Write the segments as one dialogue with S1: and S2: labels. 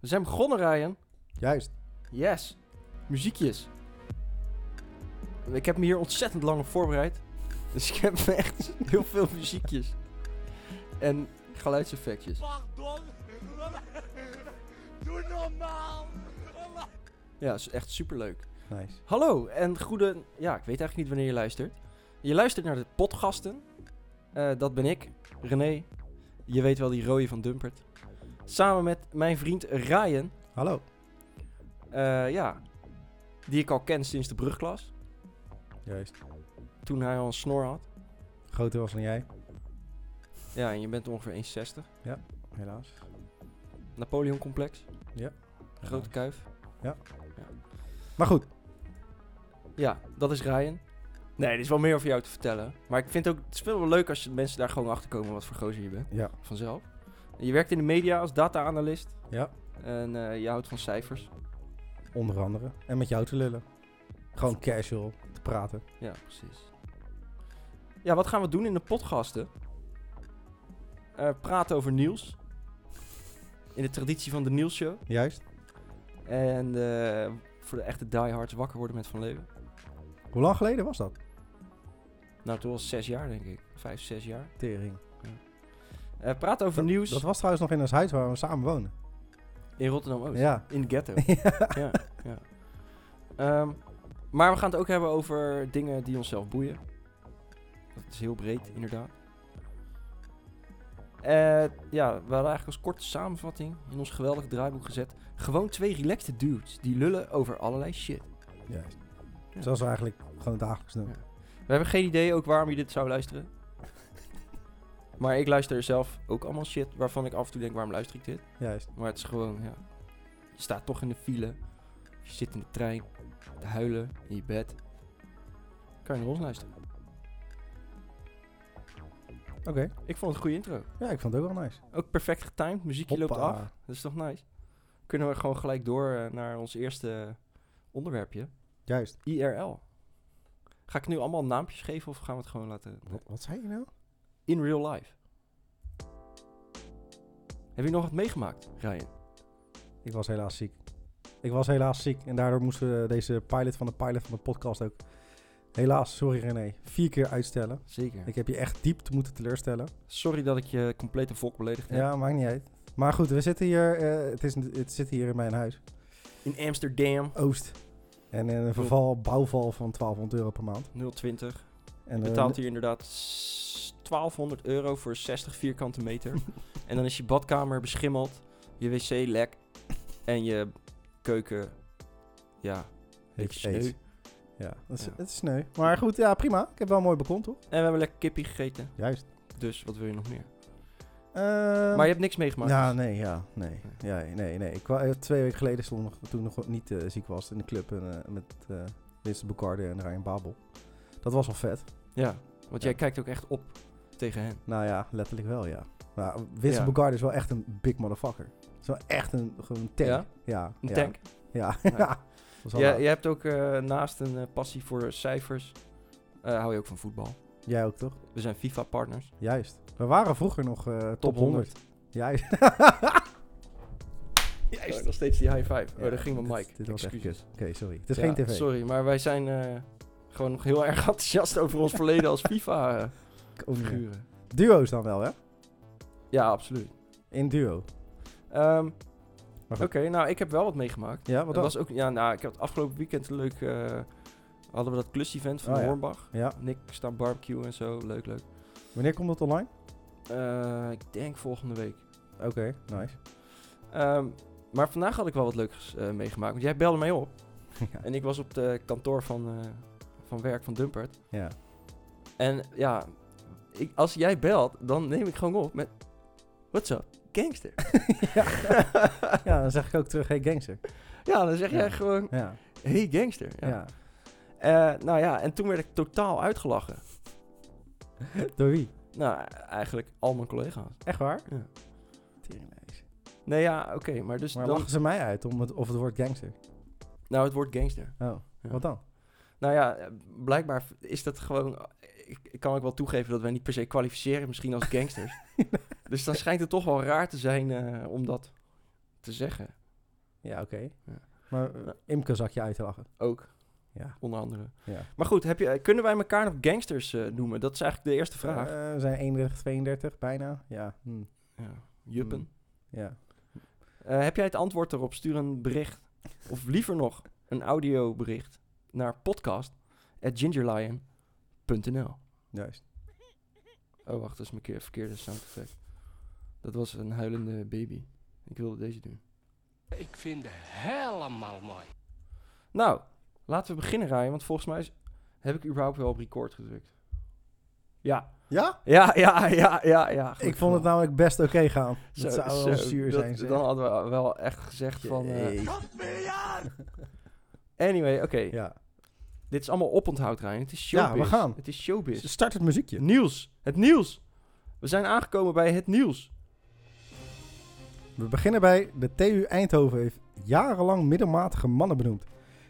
S1: We zijn begonnen, Ryan.
S2: Juist.
S1: Yes. Muziekjes. Ik heb me hier ontzettend lang op voorbereid. Dus ik heb echt heel veel muziekjes. En geluidseffectjes.
S3: Pardon. Doe normaal.
S1: Ja, is echt superleuk.
S2: Nice.
S1: Hallo en goede... Ja, ik weet eigenlijk niet wanneer je luistert. Je luistert naar de podgasten. Eh, dat ben ik, René. Je weet wel, die rode van Dumpert. Samen met mijn vriend Ryan.
S2: Hallo.
S1: Eh, ja. Die ik al ken sinds de brugklas.
S2: Juist.
S1: Toen hij al een snor had.
S2: Groter was dan jij,
S1: Ja, en je bent ongeveer 1,60.
S2: helaas.
S1: Napoleon complex.
S2: Ja.
S1: Grote kuif.
S2: Maar goed.
S1: Ja, dat is Ryan. Nee, er is wel meer over jou te vertellen. Maar ik vind ook, het is veel wel leuk als je mensen daar gewoon achter komen wat voor gozer je bent.
S2: Ja.
S1: Vanzelf. Je werkt in de media als data-analyst.
S2: Ja.
S1: En eh, je houdt van cijfers.
S2: Onder andere. En met jou te lullen. Gewoon casual te praten.
S1: Ja, precies. Ja, wat gaan we doen in de podcasten? Eh, praten over nieuws. In de traditie van de Niels Show.
S2: Juist.
S1: En eh, voor de echte diehards wakker worden met Van Leeuwen.
S2: Hoe lang geleden was dat?
S1: Nou, toen was zes jaar, denk ik. Vijf, zes jaar.
S2: Tering.
S1: Eh, praat over nieuws
S2: Dat was trouwens nog in ons huis waar we samen wonen.
S1: in Rotterdam-Oost.
S2: Ja.
S1: In de ghetto. ja, ja. Ehm, maar we gaan het ook hebben over dingen die onszelf boeien. Dat is heel breed, inderdaad. Eh, ja, we hadden eigenlijk als korte samenvatting in ons geweldige draaiboek gezet. Gewoon twee relaxte dudes die lullen over allerlei shit.
S2: Juist.
S1: Ja.
S2: Zoals we eigenlijk gewoon dagelijks doen.
S1: Ja. We hebben geen idee ook waarom je dit zou luisteren. Maar ik luister zelf ook allemaal shit waarvan ik af en toe denk, waarom luister ik dit?
S2: Juist.
S1: Maar het is gewoon, ja. Je staat toch in de file. Je zit in de trein. Te huilen. In je bed. Kan je naar ons luisteren.
S2: Oké.
S1: Ik vond het een goede intro.
S2: Ja, ik vond het ook wel nice.
S1: Ook perfect getimed. Muziekje loopt
S2: Hoppa.
S1: af. Dat is toch nice? Kunnen we gewoon gelijk door eh, naar ons eerste onderwerpje.
S2: Juist.
S1: IRL. Ga ik nu allemaal naampjes geven of gaan we het gewoon laten...
S2: Wat, wat zei je nou?
S1: In real life. Heb je nog wat meegemaakt, Ryan?
S2: Ik was helaas ziek. Ik was helaas ziek. En daardoor moesten we deze pilot van de pilot van de podcast ook... Helaas, sorry René. Vier keer uitstellen.
S1: Zeker.
S2: Ik heb je echt diep te moeten teleurstellen.
S1: Sorry dat ik je compleet een volk beledigd heb.
S2: Ja, maakt niet uit. Maar goed, we zitten hier, eh, het, is, het zit hier in mijn huis,
S1: In Amsterdam.
S2: Oost. En in een verval, bouwval van 1200 euro per maand.
S1: 020.
S2: En
S1: Je
S2: eh,
S1: betaalt hier inderdaad s- 1200 euro voor 60 vierkante meter. en dan is je badkamer beschimmeld, je wc lek en je keuken, ja, beetje
S2: AIDS.
S1: sneu.
S2: Ja, dat is,
S1: Ja.
S2: het is sneu. Maar goed, ja, prima. Ik heb wel mooi bekond, toch?
S1: En we hebben lekker kippie gegeten,
S2: Juist.
S1: dus wat wil je nog meer?
S2: Ehm,
S1: maar je hebt niks meegemaakt.
S2: Ja,
S1: dus-
S2: nee, ja, nee. Ja, nee, nee. Ik kwam, eh, twee weken geleden stond nog, toen ik nog niet eh, ziek was in de club en, eh, met eh Winston Bocardi en Ryan Babel. Dat was wel vet.
S1: Ja, want jij
S2: Ja.
S1: kijkt ook echt op tegen hen.
S2: Nou ja, letterlijk wel, ja. Maar Winston
S1: Ja.
S2: Bogarde is wel echt een big motherfucker. Het is wel echt een, gewoon een tank.
S1: Ja?
S2: Ja,
S1: Een
S2: ja.
S1: tank.
S2: Ja.
S1: Ja.
S2: ja. Dat is wel
S1: Ja,
S2: waar.
S1: je hebt ook eh, naast een eh, passie voor cijfers, eh, hou je ook van voetbal.
S2: Jij ook toch?
S1: We zijn FIFA-partners.
S2: Juist. We waren vroeger nog eh, top 100. Juist.
S1: Oh, Ja, nog steeds die high five.
S2: Ja,
S1: oh, daar ging mijn
S2: dit-
S1: mic.
S2: Dit was echt
S1: Excuses.
S2: kut. Oké, sorry. Het is
S1: Ja,
S2: geen tv.
S1: Sorry, maar wij zijn eh, gewoon nog heel erg enthousiast over ons verleden als eh, FIFA-figuren.
S2: Ik ook niet meer. oh, Duo's dan wel, hè?
S1: ja, absoluut.
S2: In duo.
S1: Ehm,
S2: Maar
S1: Oké,
S2: goed.
S1: nou, ik heb wel wat meegemaakt.
S2: Ja, wat
S1: Dat
S2: dan?
S1: was ook, ja, nou, ik heb het afgelopen weekend leuk. eh, hadden we dat klus-event van
S2: Oh, ja.
S1: Hornbach.
S2: Ja.
S1: Nick staan barbecue en zo. Leuk, leuk.
S2: Wanneer komt dat online?
S1: Eh, ik denk volgende week.
S2: Oké, nice.
S1: Ehm, maar vandaag had ik wel wat leuks eh, meegemaakt. Want jij belde mij op.
S2: ja.
S1: En ik was op de kantoor van, eh, van werk van Dumpert.
S2: ja.
S1: En ja, ik, als jij belt, dan neem ik gewoon op met... What's up, gangster?
S2: Ja, dan zeg ik ook terug, hey gangster.
S1: ja, dan zeg
S2: Ja.
S1: jij gewoon...
S2: Ja,
S1: Hey, gangster. Ja.
S2: ja.
S1: Eh, nou ja, en toen werd ik totaal uitgelachen.
S2: Door wie?
S1: Nou, eigenlijk al mijn collega's.
S2: Echt waar?
S1: Ja.
S2: Teringlijs.
S1: Nee, ja, oké. maar dus
S2: Maar
S1: dan...
S2: lachen ze mij uit om het, of het woord gangster?
S1: Nou, het woord gangster.
S2: Oh,
S1: Ja.
S2: wat dan?
S1: Nou ja, eh, blijkbaar is dat gewoon... eh, Ik, ik kan ook wel toegeven dat wij niet per se kwalificeren misschien als gangsters. dus dan schijnt het toch wel raar te zijn eh, om dat te zeggen.
S2: Ja, oké.
S1: Ja.
S2: Maar eh, Imke zag je uit te lachen.
S1: Ook,
S2: Ja,
S1: onder andere.
S2: ja.
S1: Maar goed, heb je, eh, kunnen wij elkaar nog gangsters eh, noemen? Dat is eigenlijk de eerste vraag.
S2: Eh, we zijn 31, 32 bijna. Ja. hm,
S1: ja. Juppen.
S2: hmm. ja.
S1: Eh, heb jij het antwoord erop? Stuur een bericht. Of liever nog, een audiobericht naar podcast.gingerlion.nl
S2: Juist.
S1: Oh, wacht, dat is mijn keer verkeerde sound effect. Dat was een huilende baby. Ik wilde deze doen.
S3: Ik vind helemaal mooi.
S1: Nou, laten we beginnen, Ryan. Want volgens mij is- heb ik überhaupt wel op record gedrukt. Ja.
S2: Ja?
S1: Ja, ja, ja, ja, ja.
S2: Ik
S1: gelukkig
S2: vond
S1: wel.
S2: het nou namelijk best oké gaan.
S1: Zo,
S2: Dat zou wel
S1: zo,
S2: zuur
S1: dat-
S2: zijn. zeg.
S1: Dan hadden we wel echt gezegd van... eh,
S2: Jee.
S1: anyway, oké.
S2: ja.
S1: Dit is allemaal oponthoud, Ryan. Het is
S2: Ja,
S1: showbiz.
S2: we gaan.
S1: Het is showbiz.
S2: Start het muziekje.
S1: Nieuws. Het nieuws. We zijn aangekomen bij het nieuws.
S2: We beginnen bij de TU Eindhoven heeft jarenlang middelmatige mannen benoemd.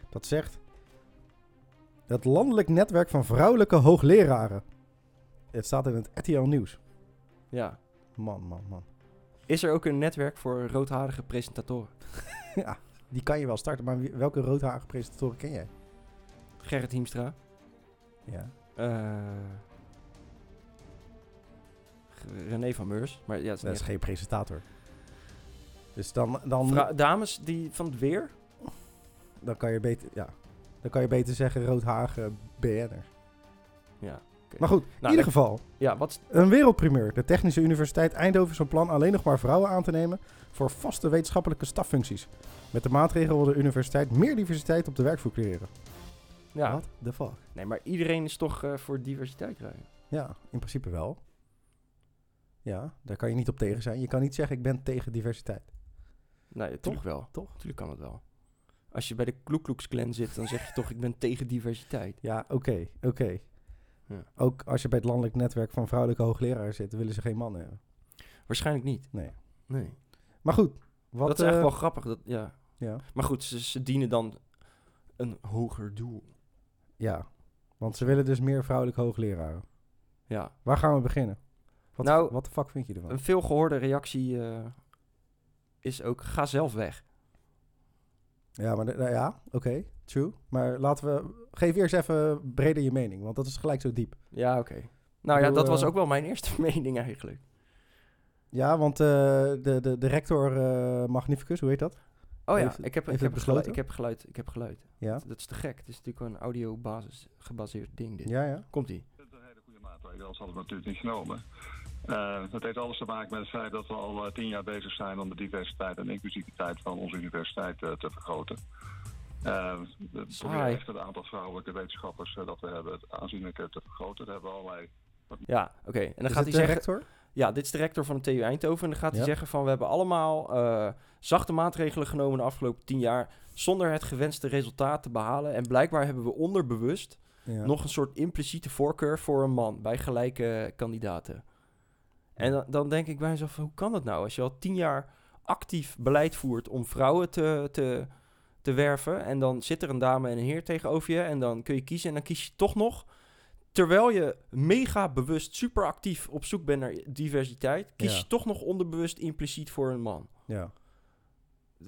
S2: Dat zegt het landelijk netwerk van vrouwelijke hoogleraren. Het staat in het RTL Nieuws.
S1: Ja.
S2: Man, man, man.
S1: Is er ook een netwerk voor roodharige presentatoren?
S2: Die kan je wel starten, maar wie- welke roodharige presentatoren ken jij?
S1: Gerrit Hiemstra.
S2: Ja.
S1: eh, René van Meurs. Maar ja, het is
S2: Dat
S1: niet
S2: is
S1: echt-
S2: geen presentator. Dus dan, dan,
S1: Vrou- dames die van het weer?
S2: dan, kan, je beter, ja, dan kan je beter zeggen roodharige BN'er.
S1: Ja. oké.
S2: Maar goed, in ieder
S1: dat-
S2: geval.
S1: Ja, wat...
S2: Een wereldprimeur. De Technische Universiteit Eindhoven is van plan alleen nog maar vrouwen aan te nemen voor vaste wetenschappelijke staffuncties. Met de maatregel wil de universiteit meer diversiteit op de werkvloer creëren.
S1: Ja.
S2: What the fuck?
S1: Nee, maar iedereen is toch eh, voor diversiteit, Ryan?
S2: Ja, in principe wel. Ja, daar kan je niet op tegen zijn. Je kan niet zeggen ik ben tegen diversiteit.
S1: Nee, natuurlijk wel.
S2: toch?
S1: Natuurlijk kan het wel. Als je bij de Kloek Klooks Clan zit, dan zeg je toch ik ben tegen diversiteit.
S2: Ja, oké, oké.
S1: Ja.
S2: Ook als je bij het landelijk netwerk van vrouwelijke hoogleraren zit, willen ze geen mannen hebben.
S1: Waarschijnlijk niet.
S2: Nee.
S1: Nee.
S2: Maar goed, wat...
S1: dat is echt
S2: eh,
S1: wel grappig. Dat, ja.
S2: Ja.
S1: Maar goed, ze, ze dienen dan een hoger doel.
S2: Ja, want ze willen dus meer vrouwelijke hoogleraren.
S1: Ja.
S2: Waar gaan we beginnen? Wat,
S1: Nou,
S2: wat de fuck vind je ervan?
S1: Een veelgehoorde reactie eh, is ook: ga zelf weg.
S2: Ja, maar de- nou ja, oké, true. Maar laten we... Geef eerst even breder je mening, want dat is gelijk zo diep.
S1: Ja, oké. Nou ja,
S2: bedoel,
S1: dat was
S2: eh,
S1: ook wel mijn eerste mening eigenlijk.
S2: Ja, want eh, de, de, de rector eh, magnificus, hoe heet dat?
S1: Oh ja,
S2: heeft-
S1: ik heb, ik,
S2: heeft
S1: heb
S2: het
S1: geluid,
S2: besloten?
S1: ik heb geluid. Ik heb geluid.
S2: Ja,
S1: Dat, dat is te gek. Het is natuurlijk wel een audiobasis gebaseerd ding. Dit.
S2: ja, ja.
S1: Komt ie.
S4: Dat is een hele goede maatregel, anders hadden we het natuurlijk niet genomen. Eh, dat heeft alles te maken met het feit dat we al eh, tien jaar bezig zijn om de diversiteit en inclusiviteit van onze universiteit eh, te vergroten. Eh, we proberen
S1: Saai.
S4: echt het aantal vrouwelijke wetenschappers eh, dat we hebben aanzienlijk eh, te vergroten. Daar hebben we allerlei
S1: Ja, oké. En dan
S2: Is
S1: gaat
S2: het
S1: hij
S2: de
S1: zeggen.
S2: rector?
S1: Ja, dit is de rector van de TU Eindhoven. En dan gaat hij
S2: Ja.
S1: zeggen van we hebben allemaal eh, zachte maatregelen genomen de afgelopen tien jaar zonder het gewenste resultaat te behalen. En blijkbaar hebben we onderbewust
S2: Ja.
S1: nog een soort impliciete voorkeur voor een man bij gelijke kandidaten. En dan, dan denk ik bij mezelf, van, hoe kan dat nou? Als je al tien jaar actief beleid voert om vrouwen te, te, te werven... en dan zit er een dame en een heer tegenover je... en dan kun je kiezen en dan kies je toch nog... terwijl je mega bewust, super actief op zoek bent naar diversiteit... kies
S2: Ja.
S1: je toch nog onderbewust impliciet voor een man.
S2: Ja,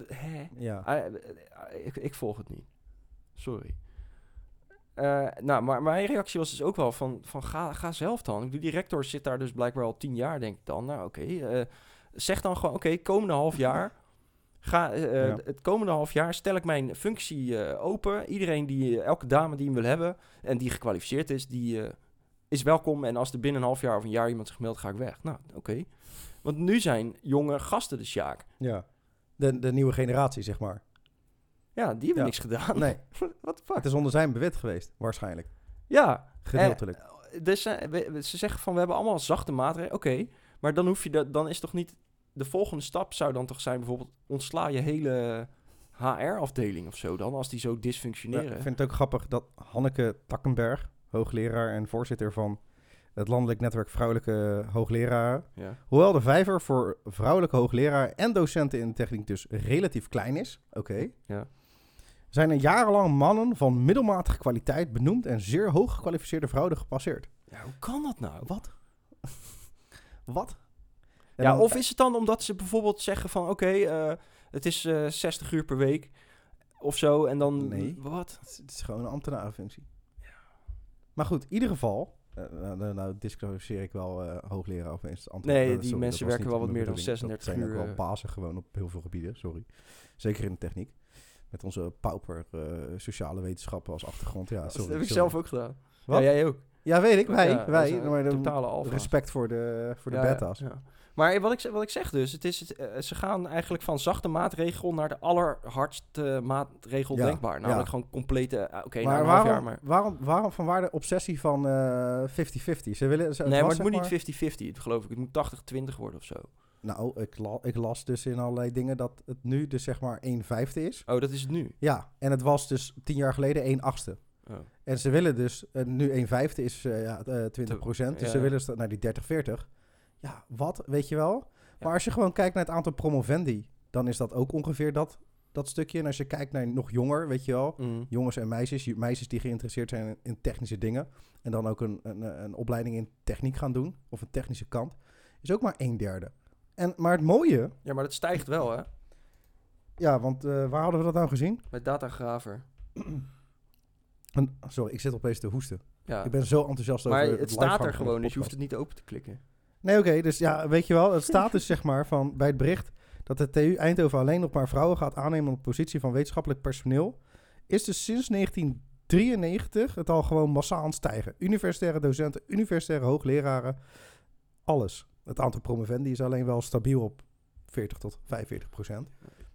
S1: Hè?
S2: ja.
S1: Ah, eh, eh, ik, ik volg het niet. Sorry. Eh, nou, maar mijn reactie was dus ook wel van, van ga, ga zelf dan. Ik bedoel, die rector zit daar dus blijkbaar al tien jaar, denk ik dan. Nou, oké. eh, zeg dan gewoon, oké, komende half jaar... Ga, eh, eh,
S2: Ja.
S1: Het komende half jaar stel ik mijn functie eh, open. Iedereen die, eh, elke dame die hem wil hebben en die gekwalificeerd is, die eh, is welkom. En als er binnen een half jaar of een jaar iemand zich meldt, ga ik weg. Nou, oké. Want nu zijn jonge gasten de Sjaak.
S2: ja. De, de nieuwe generatie, zeg maar.
S1: Ja, die hebben
S2: Ja.
S1: niks gedaan.
S2: Nee,
S1: Wat de fuck?
S2: het is onder zijn bewit geweest, waarschijnlijk.
S1: Ja,
S2: Gedeeltelijk.
S1: dus eh, we- we- ze zeggen van we hebben allemaal zachte maatregelen. Oké, maar dan hoef je dat, dan is toch niet. De volgende stap zou dan toch zijn, bijvoorbeeld, ontsla je hele HR-afdeling of zo dan, als die zo
S2: Ja,
S1: dysfunctioneren.
S2: ik vind het ook grappig dat Hanneke Takkenberg, hoogleraar en voorzitter van het landelijk netwerk vrouwelijke hoogleraren,
S1: Ja.
S2: Hoewel de vijver voor vrouwelijke hoogleraren en docenten in de techniek dus relatief klein is, oké,
S1: Ja.
S2: zijn er jarenlang mannen van middelmatige kwaliteit benoemd en zeer hoog gekwalificeerde vrouwen gepasseerd.
S1: Ja, hoe kan dat nou?
S2: Wat? Wat? En
S1: Ja,
S2: dan-
S1: of is het dan omdat ze bijvoorbeeld zeggen van oké, eh, Het is eh, 60 uur per week of zo. En dan.
S2: Nee.
S1: Wat?
S2: Het is- Het is gewoon een ambtenarenfunctie. Maar goed, in ieder geval. eh, nou, nou, nou discussieer ik wel eh, hoogleraar of eens ambtenaar.
S1: Nee,
S2: Eh,
S1: die
S2: dat
S1: mensen
S2: was
S1: werken
S2: niet
S1: wel wat meer
S2: mijn
S1: dan
S2: bedoeling.
S1: 36
S2: Dat zijn
S1: uur,
S2: ook wel
S1: eh.
S2: bazen gewoon op heel veel gebieden, sorry. Zeker in de techniek. Met onze pauper eh, sociale wetenschappen als achtergrond. Ja, sorry,
S1: dat heb ik
S2: sorry.
S1: zelf ook gedaan.
S2: Wat?
S1: Ja, jij ook.
S2: Ja, weet ik. Wij.
S1: Ja, dat
S2: wij
S1: is een
S2: maar dan-
S1: totale alfa.
S2: respect voor de, voor de
S1: Ja, ja,
S2: beta's.
S1: ja. Maar wat ik, ze- wat ik zeg dus, het is, het, eh, ze gaan eigenlijk van zachte maatregel naar de allerhardste maatregel
S2: Ja,
S1: denkbaar. Namelijk
S2: ja.
S1: gewoon complete, eh, oké, na
S2: maar
S1: een half
S2: waarom,
S1: jaar maar.
S2: Waarom, waarom van waar de obsessie van eh, 50-50? Ze willen. ze-
S1: Nee, maar
S2: was,
S1: het moet
S2: zeg
S1: niet 50-50, geloof ik. Het moet 80-20 worden of zo.
S2: Nou, ik, la- ik las dus in allerlei dingen dat het nu dus zeg maar 1 vijfde is.
S1: Oh, dat is het nu.
S2: Ja, en het was dus tien jaar geleden 1 achtste.
S1: Oh.
S2: En ze willen dus, eh, nu 1 vijfde is eh, ja, eh, 20 procent, dus
S1: Ja.
S2: ze willen sta- naar die 30, 40. Ja, wat, weet je wel? Maar
S1: Ja.
S2: als je gewoon kijkt naar het aantal promovendi, dan is dat ook ongeveer dat, dat stukje. En als je kijkt naar nog jonger, weet je wel,
S1: Mm.
S2: jongens en meisjes, je- meisjes die geïnteresseerd zijn in- in technische dingen en dan ook een, een, een opleiding in techniek gaan doen, of een technische kant, is ook maar een derde. En, maar het mooie,
S1: Ja, maar dat stijgt wel, hè?
S2: ja, want eh, waar hadden we dat nou gezien?
S1: Met datagraver.
S2: En- sorry, ik zit opeens te hoesten.
S1: Ja.
S2: Ik ben zo enthousiast
S1: Maar
S2: over
S1: het staat
S2: livehangen
S1: er
S2: van
S1: gewoon,
S2: de
S1: dus je hoeft
S2: podcast.
S1: het niet open te klikken.
S2: Nee, oké, dus ja, weet je wel, het staat dus zeg maar van bij het bericht dat de TU Eindhoven alleen nog maar vrouwen gaat aannemen op de positie van wetenschappelijk personeel, is dus sinds 1993 het al gewoon massaal aan het stijgen. Universitaire docenten, universitaire hoogleraren, alles. Het aantal promovendi is alleen wel stabiel op 40 tot 45 procent.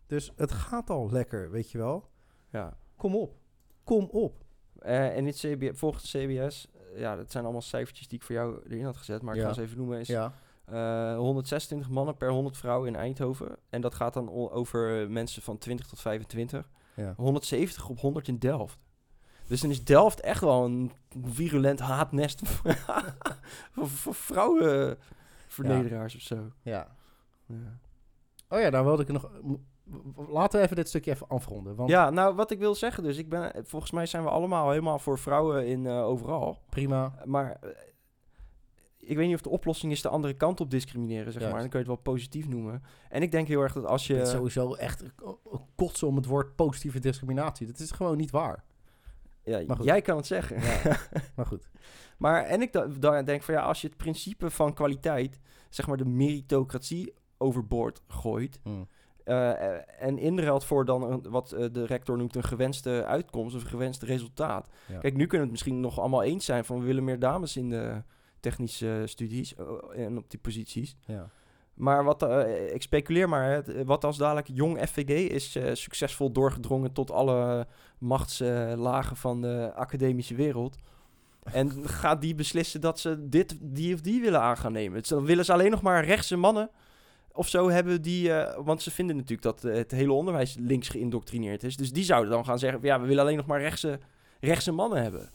S2: Dus het gaat al lekker, weet je wel.
S1: Ja.
S2: Kom op, kom op.
S1: Eh, en dit CB volgens CBS, eh, ja, dat zijn allemaal cijfertjes die ik voor jou erin had gezet, maar ik
S2: Ja.
S1: ga ze even noemen. Is
S2: Ja,
S1: eh, 126 mannen per 100 vrouwen in Eindhoven. En dat gaat dan o- over eh, mensen van 20 tot 25.
S2: ja.
S1: 170 op 100 in Delft. Dus dan is Delft echt wel een virulent haatnest voor, voor- voor vrouwenvernederaars of zo.
S2: ja.
S1: Ja.
S2: Oh ja, daar wilde ik nog. Laten we even dit stukje even afronden. Want
S1: ja, nou wat ik wil zeggen dus, ik ben, eh, volgens mij zijn we allemaal helemaal voor vrouwen in eh, overal.
S2: prima.
S1: Maar eh, ik weet niet of de oplossing is de andere kant op discrimineren, zeg
S2: Juist.
S1: maar. Dan kun je het wel positief noemen. En ik denk heel erg dat als
S2: Het is
S1: je...
S2: sowieso echt kotsen om het woord positieve discriminatie. Dat is gewoon niet waar.
S1: Ja,
S2: Maar goed.
S1: jij kan het zeggen.
S2: Maar goed.
S1: Maar en ik da- dan denk van ja, als je het principe van kwaliteit, zeg maar de meritocratie, overboord gooit.
S2: Mm.
S1: eh, eh, en inruilt voor dan een- wat eh, de rector noemt een gewenste uitkomst of een gewenst resultaat.
S2: Ja.
S1: Kijk, nu kunnen we het misschien nog allemaal eens zijn van we willen meer dames in de technische studies eh, en op die posities.
S2: Ja.
S1: Maar wat, eh, ik speculeer maar, hè, t- wat als dadelijk jong FVD is eh, succesvol doorgedrongen tot alle machtslagen van de academische wereld. En gaat die beslissen dat ze dit, die of die willen aan gaan nemen? Dus Dan willen ze alleen nog maar rechtse mannen of zo hebben die... eh, want ze vinden natuurlijk dat eh, het hele onderwijs links geïndoctrineerd is. Dus die zouden dan gaan zeggen, van, ja, we willen alleen nog maar rechtse, rechtse mannen hebben.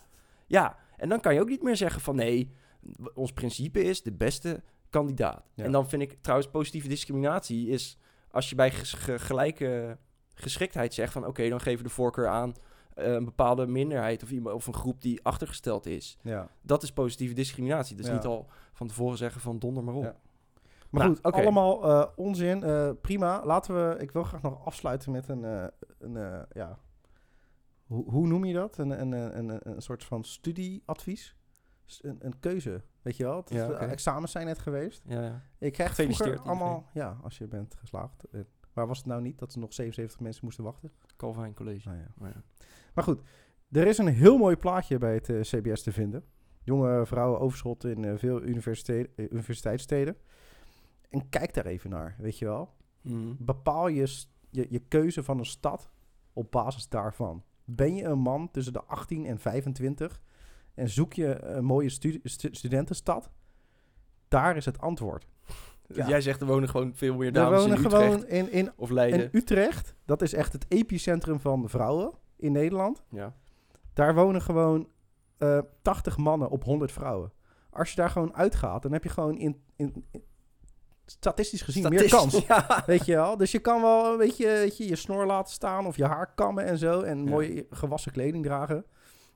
S1: Ja, en dan kan je ook niet meer zeggen van nee, w- ons principe is de beste kandidaat.
S2: Ja.
S1: En dan vind ik trouwens positieve discriminatie is als je bij ges- ge- gelijke geschiktheid zegt van oké, dan geven we de voorkeur aan eh, een bepaalde minderheid of, iemand, of een groep die achtergesteld is.
S2: ja.
S1: Dat is positieve discriminatie. Dus
S2: Ja.
S1: niet al van tevoren zeggen van donder maar op.
S2: Ja. Maar
S1: Nou,
S2: goed,
S1: oké.
S2: allemaal eh, onzin. Eh, prima. Laten we. Ik wil graag nog afsluiten met een. eh, een eh, ja. Hoe, hoe noem je dat? Een, een, een, een, een soort van studieadvies? S- Een, een keuze. Weet je wel? Dat-
S1: Ja, oké.
S2: Examens zijn net geweest.
S1: Ja, ja.
S2: Ik krijg vroeger
S1: Gefeliciteerd,
S2: allemaal, ja, als je bent geslaagd. Eh, Waar was het nou niet dat er nog 77 mensen moesten wachten?
S1: Calvin College.
S2: Nou ja.
S1: Maar ja.
S2: Maar goed, er is een heel mooi plaatje bij het eh, CBS te vinden. Jonge vrouwen overschot in eh, veel universite- eh, universiteitssteden. En kijk daar even naar, weet je wel.
S1: Mhm.
S2: Bepaal je, s- je, je keuze van een stad op basis daarvan. Ben je een man tussen de 18 en 25 en zoek je een mooie stu- stu- studentenstad? Daar is het antwoord. Ja.
S1: Jij zegt er wonen gewoon veel meer
S2: We
S1: dames in
S2: wonen
S1: Utrecht
S2: gewoon in, in
S1: of Leiden.
S2: En Utrecht, dat is echt het epicentrum van vrouwen in Nederland.
S1: ja.
S2: Daar wonen gewoon eh 80 mannen op 100 vrouwen. Als je daar gewoon uitgaat, dan heb je gewoon in, in, in- statistisch gezien meer
S1: Statistisch-
S2: kans.
S1: Ja.
S2: Weet je wel? Dus je kan wel een beetje weet je, je snor laten staan of je haar kammen en zo. En mooie gewassen kleding dragen.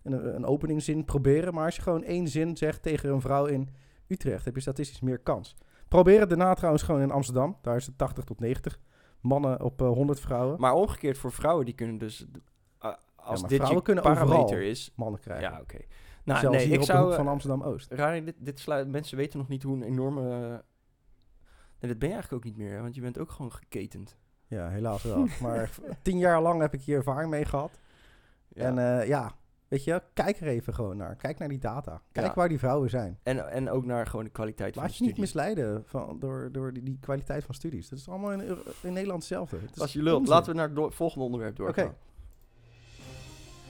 S2: En een, een openingzin proberen. Maar als je gewoon één zin zegt tegen een vrouw in Utrecht, heb je statistisch meer kans. Probeer het daarna trouwens gewoon in Amsterdam. Daar is het 80 tot 90. mannen op eh, 100 vrouwen.
S1: Maar omgekeerd voor vrouwen, die kunnen dus... eh, als
S2: maar
S1: dit je
S2: vrouwen kunnen
S1: parameter
S2: overal.
S1: is...
S2: Mannen krijgen.
S1: Ja, oké. Nou,
S2: Zelfs
S1: nee,
S2: hier
S1: ik
S2: op
S1: zou...
S2: de hoek
S1: eh,
S2: van Amsterdam-Oost.
S1: Raar, dit, dit sluit, mensen weten nog niet hoe een enorme... eh, Nee, dat ben je eigenlijk ook niet meer, hè, want je bent ook gewoon geketend.
S2: Ja, helaas wel. maar tien jaar lang heb ik hier ervaring mee gehad.
S1: Ja.
S2: En eh, ja, weet je, kijk er even gewoon naar. Kijk naar die data. Kijk
S1: Ja.
S2: waar die vrouwen zijn.
S1: en, en ook naar gewoon de kwaliteit van de
S2: Laat je niet
S1: studie.
S2: misleiden van, door, door die, die kwaliteit van studies. Dat is allemaal in, Euro- in Nederland hetzelfde. Het is
S1: Als je lult,
S2: onzin.
S1: laten we naar het do- volgende onderwerp doorgaan.
S2: Oké.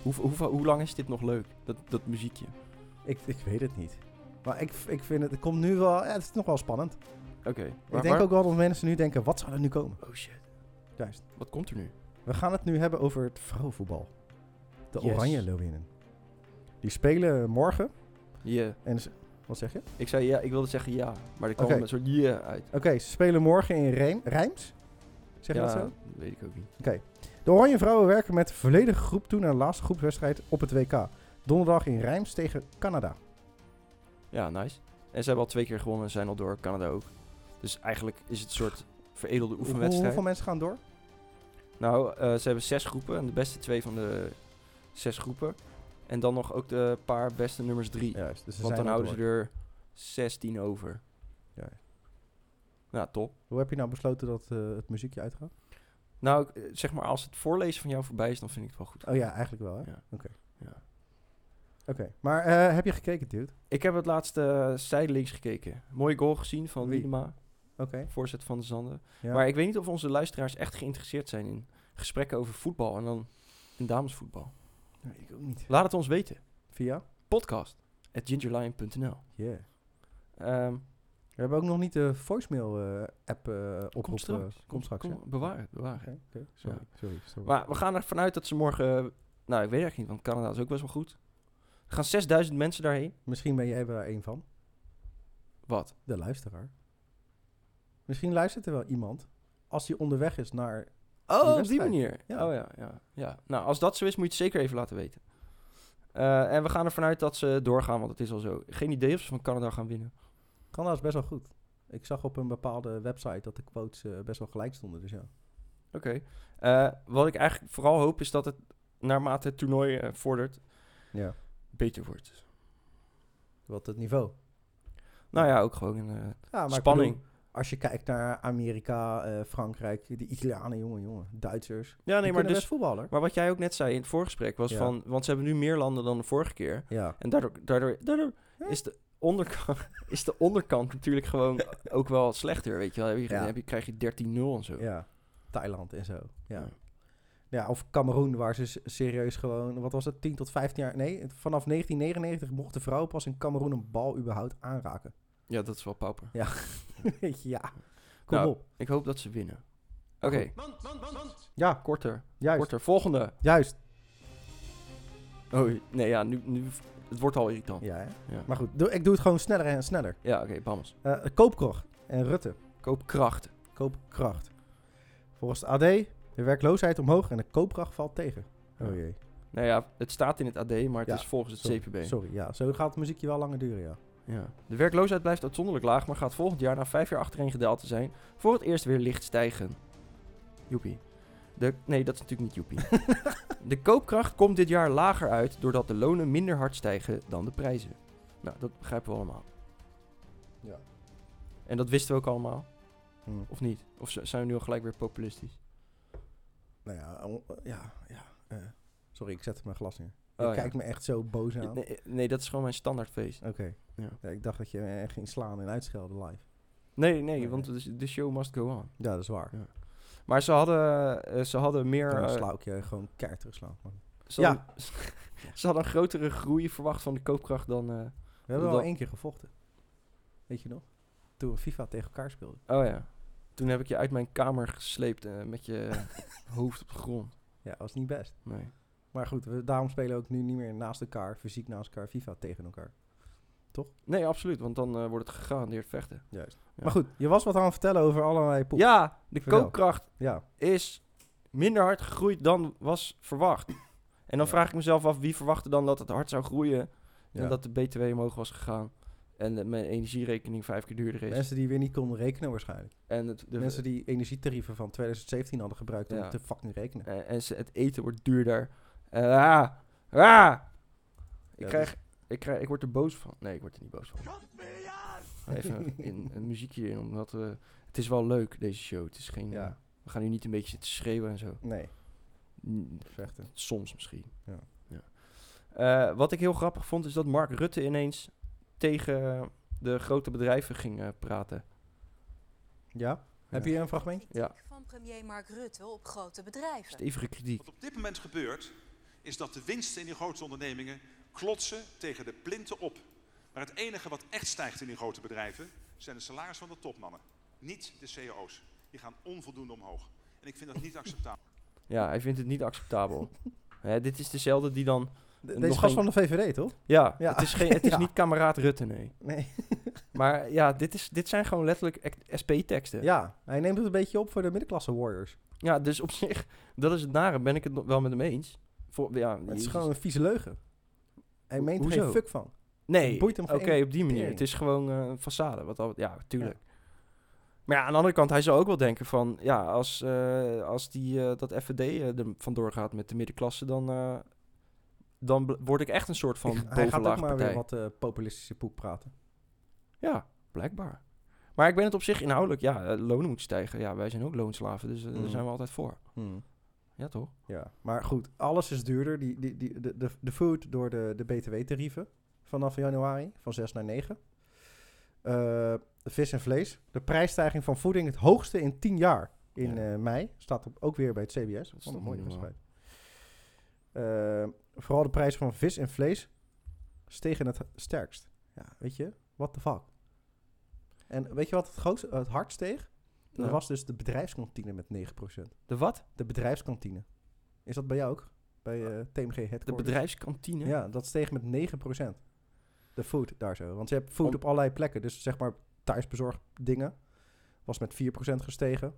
S1: Hoe, hoe, hoe lang is dit nog leuk, dat, dat muziekje?
S2: Ik, ik weet het niet. Maar ik, ik vind het, het komt nu wel, ja, het is nog wel spannend.
S1: Oké.
S2: ik
S1: waar-
S2: denk
S1: waar-
S2: ook wel dat mensen nu denken, wat zou er nu komen?
S1: Oh shit,
S2: Juist.
S1: wat komt er nu?
S2: We gaan het nu hebben over het vrouwenvoetbal. De
S1: Yes.
S2: Oranje Leeuwinnen. Die spelen morgen.
S1: Ja,
S2: En ze- wat zeg je? Oké,
S1: ik zei ja, ik wilde zeggen ja, maar er kwam
S2: Oké.
S1: een soort ja uit.
S2: ze spelen morgen in Rijm, Rijms. Zeg je
S1: ja,
S2: dat zo?
S1: weet ik ook niet.
S2: De Oranje Vrouwen werken met de volledige groep toe naar de laatste groepswedstrijd op het WK. Donderdag in Rijms tegen Canada.
S1: Ja, nice. En ze hebben al twee keer gewonnen en zijn al door, Canada ook. Dus eigenlijk is het een soort veredelde
S2: Hoe-
S1: oefenwedstrijd.
S2: hoeveel mensen gaan door?
S1: Nou, eh, ze hebben zes groepen en de beste twee van de zes groepen. En dan nog ook de paar beste nummers drie.
S2: Juist, dus ze
S1: Want
S2: zijn
S1: dan
S2: al
S1: houden
S2: door.
S1: ze er 16 over.
S2: Ja.
S1: Nou, top.
S2: Hoe heb je nou besloten dat eh, het muziekje uitgaat?
S1: Nou, ik, eh, zeg maar, als het voorlezen van jou voorbij is, dan vind ik het wel goed.
S2: Oh ja, eigenlijk wel hè?
S1: Ja.
S2: Oké.
S1: Ja.
S2: Oké, maar eh, heb je gekeken dude?
S1: Ik heb het laatste eh, zijdelings gekeken. Mooie goal gezien van
S2: Wie?
S1: Wiedema,
S2: Oké.
S1: voorzet van de Zanden.
S2: Ja.
S1: Maar ik weet niet of onze luisteraars echt geïnteresseerd zijn in gesprekken over voetbal en dan in damesvoetbal.
S2: Nee, ik ook niet.
S1: Laat het ons weten.
S2: Via?
S1: Podcast at gingerlion.nl
S2: Yeah.
S1: Ehm,
S2: We hebben ook nog niet de voicemail eh, app eh oproep.
S1: Komt straks.
S2: eh, komt straks.
S1: kom,
S2: hè?
S1: bewaar het, bewaar het.
S2: Oké, oké, sorry,
S1: Ja.
S2: sorry, sorry.
S1: Maar we gaan ervan uit dat ze morgen... eh, Nou, ik weet eigenlijk niet, want Canada is ook best wel goed. Er gaan 6000 mensen daarheen.
S2: Misschien ben jij er een van.
S1: Wat?
S2: De luisteraar. Misschien luistert er wel iemand. Als hij onderweg is naar...
S1: Oh, op die
S2: wedstrijd.
S1: manier.
S2: Ja.
S1: Oh ja, ja, ja. Nou, als dat zo is, moet je het zeker even laten weten. Eh, en we gaan ervan uit dat ze doorgaan, want het is al zo. Geen idee of ze van Canada gaan winnen.
S2: Canada is best wel goed. Ik zag op een bepaalde website dat de quotes eh, best wel gelijk stonden. Dus ja.
S1: Oké. Eh, wat ik eigenlijk vooral hoop is dat het, naarmate het toernooi eh, vordert,
S2: ja.
S1: beter wordt.
S2: Wat het niveau.
S1: Nou ja, ook gewoon een eh,
S2: Ja, maar ik
S1: spanning.
S2: bedoel, als je kijkt naar Amerika, eh, Frankrijk, de Italianen, jongen, jongen. Duitsers.
S1: ja, nee, maar, dus,
S2: voetballer.
S1: maar wat jij ook net zei in het voorgesprek was
S2: Ja.
S1: van... Want ze hebben nu meer landen dan de vorige keer.
S2: Ja.
S1: En daardoor, daardoor, daardoor
S2: Ja.
S1: is, de onderkant, is de onderkant natuurlijk gewoon ook wel slechter, weet je wel. Dan Heb je,
S2: Ja.
S1: dan heb je, krijg je 13-0 en zo.
S2: Ja, Thailand en zo. Ja.
S1: Ja.
S2: Ja, of Cameroen, waar ze s- serieus gewoon, wat was het, 10 tot 15 jaar? Nee, het- vanaf 1999 mocht de vrouw pas in Cameroen een bal überhaupt aanraken.
S1: Ja, dat is wel pauper.
S2: Weet je, ja, kom
S1: Nou.
S2: op.
S1: Ik hoop dat ze winnen. Oké,
S2: Ja,
S1: korter.
S2: juist,
S1: Korter. Volgende.
S2: juist.
S1: Oh, nee, ja, nu, nu... Het wordt al irritant. Ja,
S2: Ja, hè?
S1: oh, Ja.
S2: maar goed, doe- ik doe het gewoon sneller en sneller.
S1: oké, Bammels.
S2: Eh Koopkrog en Rutte,
S1: Koop kracht.
S2: koopkracht. Volgens het AD, de werkloosheid omhoog en de koopkracht valt tegen. Oh jee,
S1: Nou ja, het staat in het AD, maar het
S2: Ja,
S1: is volgens het
S2: sorry,
S1: CPB.
S2: sorry, ja, zo gaat het muziekje wel langer duren, ja.
S1: Ja. De werkloosheid blijft uitzonderlijk laag, maar gaat volgend jaar na vijf jaar achtereen gedaald te zijn, voor het eerst weer licht stijgen. Joepie. De, nee, dat is natuurlijk niet joepie. de koopkracht komt dit jaar lager uit, doordat de lonen minder hard stijgen dan de prijzen. Nou, dat begrijpen we allemaal.
S2: Ja.
S1: En dat wisten we ook allemaal,
S2: Hm.
S1: of niet? Of z- zijn we nu al gelijk weer populistisch?
S2: Nou ja, on- ja, ja. eh, sorry, ik zette mijn glas neer. Je
S1: Oh, ja. Eh.
S2: kijkt me echt zo boos aan.
S1: Nee, nee, dat is gewoon mijn standaardfeest.
S2: Oké.
S1: Ja.
S2: Ja, ik dacht dat je me echt ging slaan en uitschelden live.
S1: Nee, nee, want het is- de show must go on.
S2: Ja, dat is waar.
S1: Ja, Maar ze hadden, eh, ze hadden meer...
S2: Dan
S1: eh,
S2: sla ik je gewoon keihard terugslaan. man.
S1: Ze, hadden, ze hadden een grotere groei verwacht van de koopkracht dan. eh,
S2: We hebben
S1: Dat-
S2: al één keer gevochten. Weet je nog? Toen we FIFA tegen elkaar speelden.
S1: oh ja. Toen heb ik je uit mijn kamer gesleept eh, met je hoofd op de grond.
S2: Ja, dat was niet best.
S1: Nee.
S2: Maar goed, we, daarom spelen we ook nu niet meer naast elkaar, fysiek naast elkaar, FIFA tegen elkaar.
S1: Nee, absoluut, want dan eh, wordt het gegarandeerd vechten.
S2: Juist.
S1: Ja.
S2: Maar goed, je was wat aan het vertellen over allerlei poep.
S1: Ja, de
S2: Vertel.
S1: koopkracht
S2: ja.
S1: is minder hard gegroeid dan was verwacht. En dan
S2: Ja.
S1: vraag ik mezelf af, wie verwachtte dan dat het hard zou groeien en
S2: Ja.
S1: dat de BTW omhoog was gegaan? En eh, mijn energierekening vijf keer duurder is.
S2: Mensen die weer niet konden rekenen waarschijnlijk.
S1: En, het, de-
S2: Mensen die energietarieven van 2017 hadden gebruikt om
S1: Ja.
S2: te fucking rekenen.
S1: eh, en ze- het eten wordt duurder. Eh, ah, ah. Ik,
S2: dat
S1: krijg, ik krijg... Ik word er boos van. Nee, ik word er niet boos van. Even een, in, een muziekje in, omdat we... Het is wel leuk, deze show. Het is geen...
S2: Ja.
S1: eh, we gaan nu niet een beetje zitten schreeuwen en zo.
S2: Nee,
S1: Mm,
S2: vechten.
S1: Soms misschien.
S2: Ja.
S1: Ja. Eh, wat ik heel grappig vond, is dat Mark Rutte ineens tegen de grote bedrijven ging eh, praten.
S2: Ja? Heb
S1: Ja.
S2: je een fragment?
S1: Ja.
S5: Kritiek van premier Mark Rutte op grote bedrijven.
S1: Stevige kritiek.
S6: Wat op dit moment gebeurt, is dat de winsten in die grote ondernemingen klotsen tegen de plinten op. Maar het enige wat echt stijgt in die grote bedrijven, zijn de salarissen van de topmannen. Niet de CEO's. Die gaan onvoldoende omhoog. En ik vind dat niet acceptabel.
S1: Ja, hij vindt het niet acceptabel. Hè, dit is dezelfde die dan...
S2: De-
S1: Nog
S2: Deze gast
S1: geen-
S2: van de VVD, toch?
S1: Ja,
S2: Ja.
S1: het is, geen, het is
S2: Ja.
S1: niet kameraad Rutte, nee.
S2: Nee.
S1: Maar ja, dit, is, dit zijn gewoon letterlijk act- SP-teksten.
S2: Ja, hij neemt het een beetje op voor de middenklasse warriors.
S1: Ja, dus op zich, dat is het nare. Ben ik het nog wel met hem eens? Voor, ja,
S2: Het is
S1: je-
S2: gewoon een vieze leugen. Hij
S1: Ho-
S2: meent er
S1: hoezo?
S2: geen fuck van.
S1: Nee,
S2: het boeit hem
S1: oké,
S2: geen
S1: op die manier.
S2: tering.
S1: Het is gewoon eh, een façade. Wat al, ja, tuurlijk. Maar ja, aan de andere kant, hij zou ook wel denken van... Ja, als, eh, als die, eh, dat FVD eh, er vandoor gaat met de middenklasse, dan... eh, dan bl- word ik echt een soort van
S2: Ik- hij gaat ook maar
S1: bovenlaagpartij.
S2: weer wat eh, populistische poep praten.
S1: Ja, blijkbaar. Maar ik ben het op zich inhoudelijk. Ja, eh, lonen moeten stijgen. Ja, wij zijn ook loonslaven, dus eh,
S2: Mm.
S1: daar zijn we altijd voor. Ja, toch?
S2: Ja, maar goed, alles is duurder. Die, die, die, de, de, de food door de, de btw-tarieven vanaf januari, van 6 naar 9. Eh, vis en vlees. De prijsstijging van voeding het hoogste in 10 jaar in eh, mei. Staat op, ook weer bij het CBS. Dat
S1: is
S2: is een
S1: toch
S2: mooie
S1: niet normaal.
S2: wedstrijd. Eh, vooral de prijs van vis en vlees stegen het sterkst. Ja, weet je, what the fuck. En weet je wat het, grootste, het hardst steeg? Dat
S1: Ja.
S2: was dus de bedrijfskantine met 9%.
S1: De wat? Ah.
S2: De bedrijfskantine. Is dat bij jou ook? Bij eh TMG Headquarters?
S1: De bedrijfskantine?
S2: Ja, dat steeg met 9%. De food daar zo. Want je hebt food
S1: Om-
S2: op allerlei plekken. Dus zeg maar thuisbezorgd dingen was met 4% gestegen.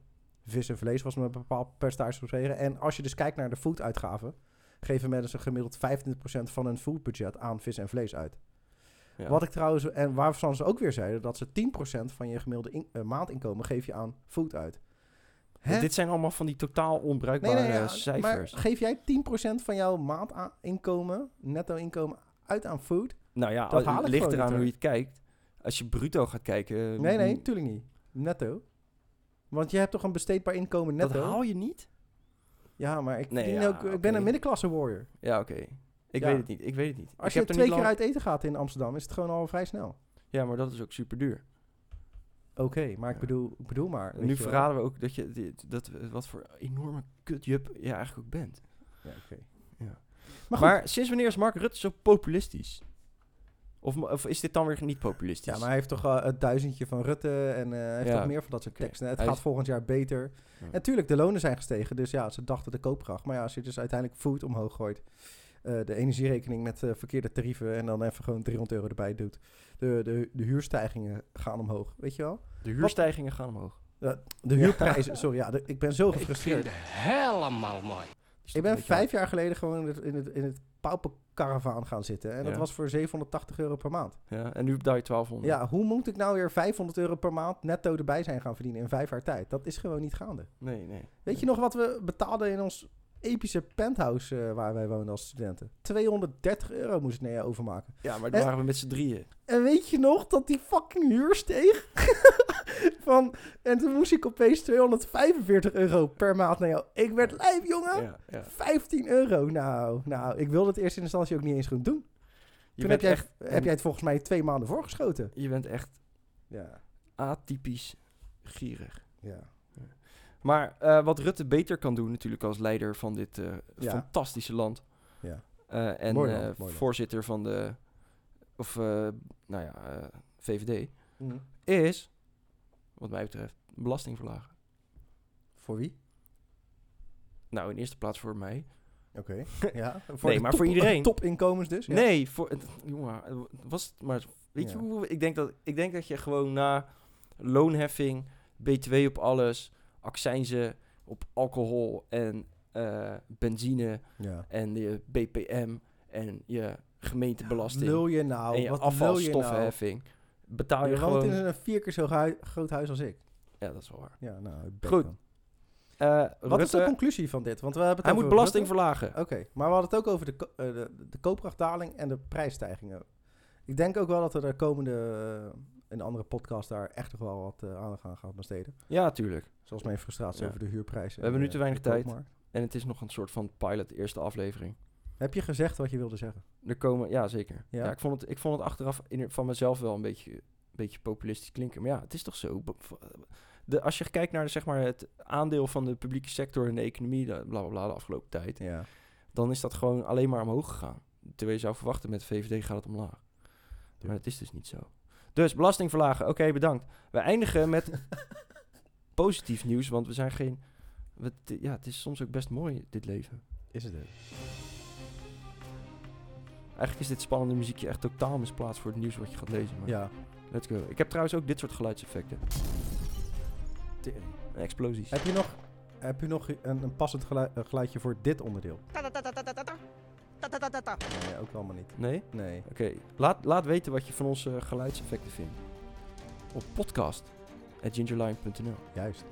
S2: Vis en vlees was met een bepaald percentage gestegen. En als je dus kijkt naar de fooduitgaven... geven mensen gemiddeld 25% van hun foodbudget aan vis en vlees uit.
S1: Ja.
S2: Wat ik trouwens... En waarvan ze ook weer zeiden... dat ze 10% van je gemiddelde in- eh, maandinkomen geef je aan food uit. Hè?
S1: Dit zijn allemaal van die totaal onbruikbare
S2: ja,
S1: eh, cijfers.
S2: Maar geef jij 10% van jouw maandinkomen, netto inkomen, uit aan food?
S1: Nou ja,
S2: Dat
S1: al-
S2: haal ik
S1: ligt
S2: gewoon
S1: eraan
S2: niet,
S1: hoe je
S2: hoor.
S1: het kijkt. Als je bruto gaat kijken... eh,
S2: Nee, nee,
S1: mm,
S2: natuurlijk niet. Netto. Want je hebt toch een besteedbaar inkomen
S1: Dat
S2: netto?
S1: haal je niet?
S2: Ja, maar ik,
S1: Nee,
S2: verdien
S1: ja,
S2: ook, ik ben
S1: oké.
S2: een middenklasse warrior.
S1: Ja, oké. Ik
S2: Ja.
S1: weet het niet, ik weet het niet.
S2: Als
S1: ik
S2: je
S1: heb er
S2: twee
S1: niet
S2: keer
S1: lang-
S2: uit eten gaat in Amsterdam, is het gewoon al vrij snel.
S1: Ja, maar dat is ook super duur.
S2: Oké, maar ik
S1: Ja.
S2: bedoel, ik bedoel maar. weet
S1: Nu
S2: je wel.
S1: verraden we ook dat je... dit- Dat, eh, wat voor enorme kutjup je eigenlijk ook bent.
S2: Ja, oké.
S1: Maar, sinds wanneer is Mark Rutte zo populistisch? Of, of is dit dan weer niet populistisch?
S2: Ja, maar hij heeft toch eh, het duizendje van Rutte en eh, hij heeft
S1: Dus- Ja.
S2: toch meer van dat soort
S1: Oké.
S2: teksten. Het
S1: Hij
S2: gaat
S1: is-
S2: volgend jaar beter.
S1: Ja.
S2: En tuurlijk, de lonen zijn gestegen, dus ja, ze dachten de koopkracht. Maar ja, als je dus uiteindelijk food omhoog gooit, eh, de energierekening met eh, verkeerde tarieven en dan even gewoon 300 euro erbij doet. De, de, de huurstijgingen gaan omhoog, weet je wel?
S1: De huurstijgingen gaan omhoog.
S2: De huurprijzen, sorry, ja, de- ik ben zo
S3: Ik
S2: gefrustreerd.
S3: vind het helemaal mooi.
S1: Is
S2: Ik
S1: dat
S2: ben
S1: een beetje
S2: vijf jaar geleden gewoon in het, in het, in het pauperkaravaan gaan zitten. En dat
S1: Ja.
S2: was voor 780 euro per maand.
S1: hard? Ja, en nu betaal je 1200.
S2: Ja, hoe moet ik nou weer 500 euro per maand netto erbij zijn gaan verdienen in vijf jaar tijd? Dat is gewoon niet gaande.
S1: Nee, nee.
S2: Weet je nog wat we betaalden in ons epische penthouse eh, waar wij woonden als studenten? 230 euro moest ik naar jou overmaken.
S1: Ja, maar daar
S2: Eh?
S1: waren we met z'n drieën.
S2: En weet je nog dat die fucking huur steeg? Van, en toen moest ik opeens 245 euro per maand naar jou. Ik werd lijf, jongen.
S1: Ja, ja.
S2: 15 euro. Nou, nou, ik wilde het eerst in instantie ook niet eens goed doen.
S1: Je,
S2: toen
S1: bent
S2: heb jij,
S1: echt,
S2: heb jij het volgens mij twee maanden voorgeschoten.
S1: je bent echt
S2: Ja,
S1: atypisch gierig.
S2: ja.
S1: Maar eh, wat Rutte beter kan doen natuurlijk als leider van dit eh,
S2: Ja.
S1: fantastische land.
S2: Ja.
S1: Eh, en
S2: Mooi land,
S1: eh,
S2: mooi land.
S1: voorzitter van de... Of, eh, nou ja, eh, VVD.
S2: Mhm.
S1: Is, wat mij betreft, belasting verlagen.
S2: Voor wie?
S1: Nou, in eerste plaats voor mij.
S2: Oké. ja. Voor
S1: Nee,
S2: de
S1: maar
S2: top-
S1: voor iedereen.
S2: Topinkomens dus. ja.
S1: Nee, voor, het- jongen, eh, was het maar. Weet je
S2: Ja.
S1: hoe? Ik denk, dat, ik denk dat je gewoon na loonheffing, BTW op alles, accijnzen op alcohol en eh, benzine
S2: Ja.
S1: en je BPM en je gemeentebelasting
S2: Lul je nou?
S1: en je
S2: wat lul je nou?
S1: afvalstoffenheffing. betaal je,
S2: je woont
S1: gewoon...
S2: in een vier keer zo hui- groot huis als ik.
S1: Ja, dat is wel waar.
S2: Ja, nou, ik ben
S1: Goed.
S2: dan.
S1: Eh,
S2: Wat is
S1: Rutte,
S2: de conclusie van dit? Want we hebben het Eh,
S1: hij
S2: over
S1: moet belasting
S2: Rutte.
S1: verlagen.
S2: Oké, maar we hadden het ook over de, ko- eh, de, de koopkrachtdaling en de prijsstijgingen. Ik denk ook wel dat we daar komende, eh, in een andere podcast, daar echt nog wel wat eh, aandacht aan gaan besteden.
S1: Ja, tuurlijk.
S2: Zoals mijn frustratie
S1: Ja.
S2: over de huurprijzen.
S1: We hebben
S2: en,
S1: nu te
S2: eh,
S1: weinig
S2: de
S1: tijd.
S2: koopmarkt.
S1: En het is nog een soort van pilot, eerste aflevering.
S2: Heb je gezegd wat je wilde zeggen?
S1: Er komen, ja zeker. Ja.
S2: Ja.
S1: ik, vond het, ik vond het achteraf in, van mezelf wel een beetje, een beetje populistisch klinken. Maar ja, het is toch zo. Bo- v- De, als je kijkt naar de, zeg maar, het aandeel van de publieke sector in de economie, de, bla bla bla, de afgelopen tijd,
S2: Ja.
S1: dan is dat gewoon alleen maar omhoog gegaan. Terwijl je zou verwachten, met VVD gaat het omlaag. Maar dat is dus niet zo. Dus belasting verlagen, oké, bedankt. We eindigen met positief nieuws, want we zijn geen. we- t- ja, het is soms ook best mooi, dit leven.
S2: Is het het?
S1: dus. Eigenlijk is dit spannende muziekje echt totaal misplaatst voor het nieuws wat je gaat lezen. Maar
S2: Ja.
S1: let's go. Ik heb trouwens ook dit soort geluidseffecten. En Explosies.
S2: Heb je nog, heb je nog een, een passend gelui- eh, geluidje voor dit onderdeel? Nee, ook allemaal niet.
S1: Nee?
S2: Nee.
S1: Oké. Laat, laat weten wat je van onze geluidseffecten vindt. Op podcast.gingerline.nl
S2: Juist.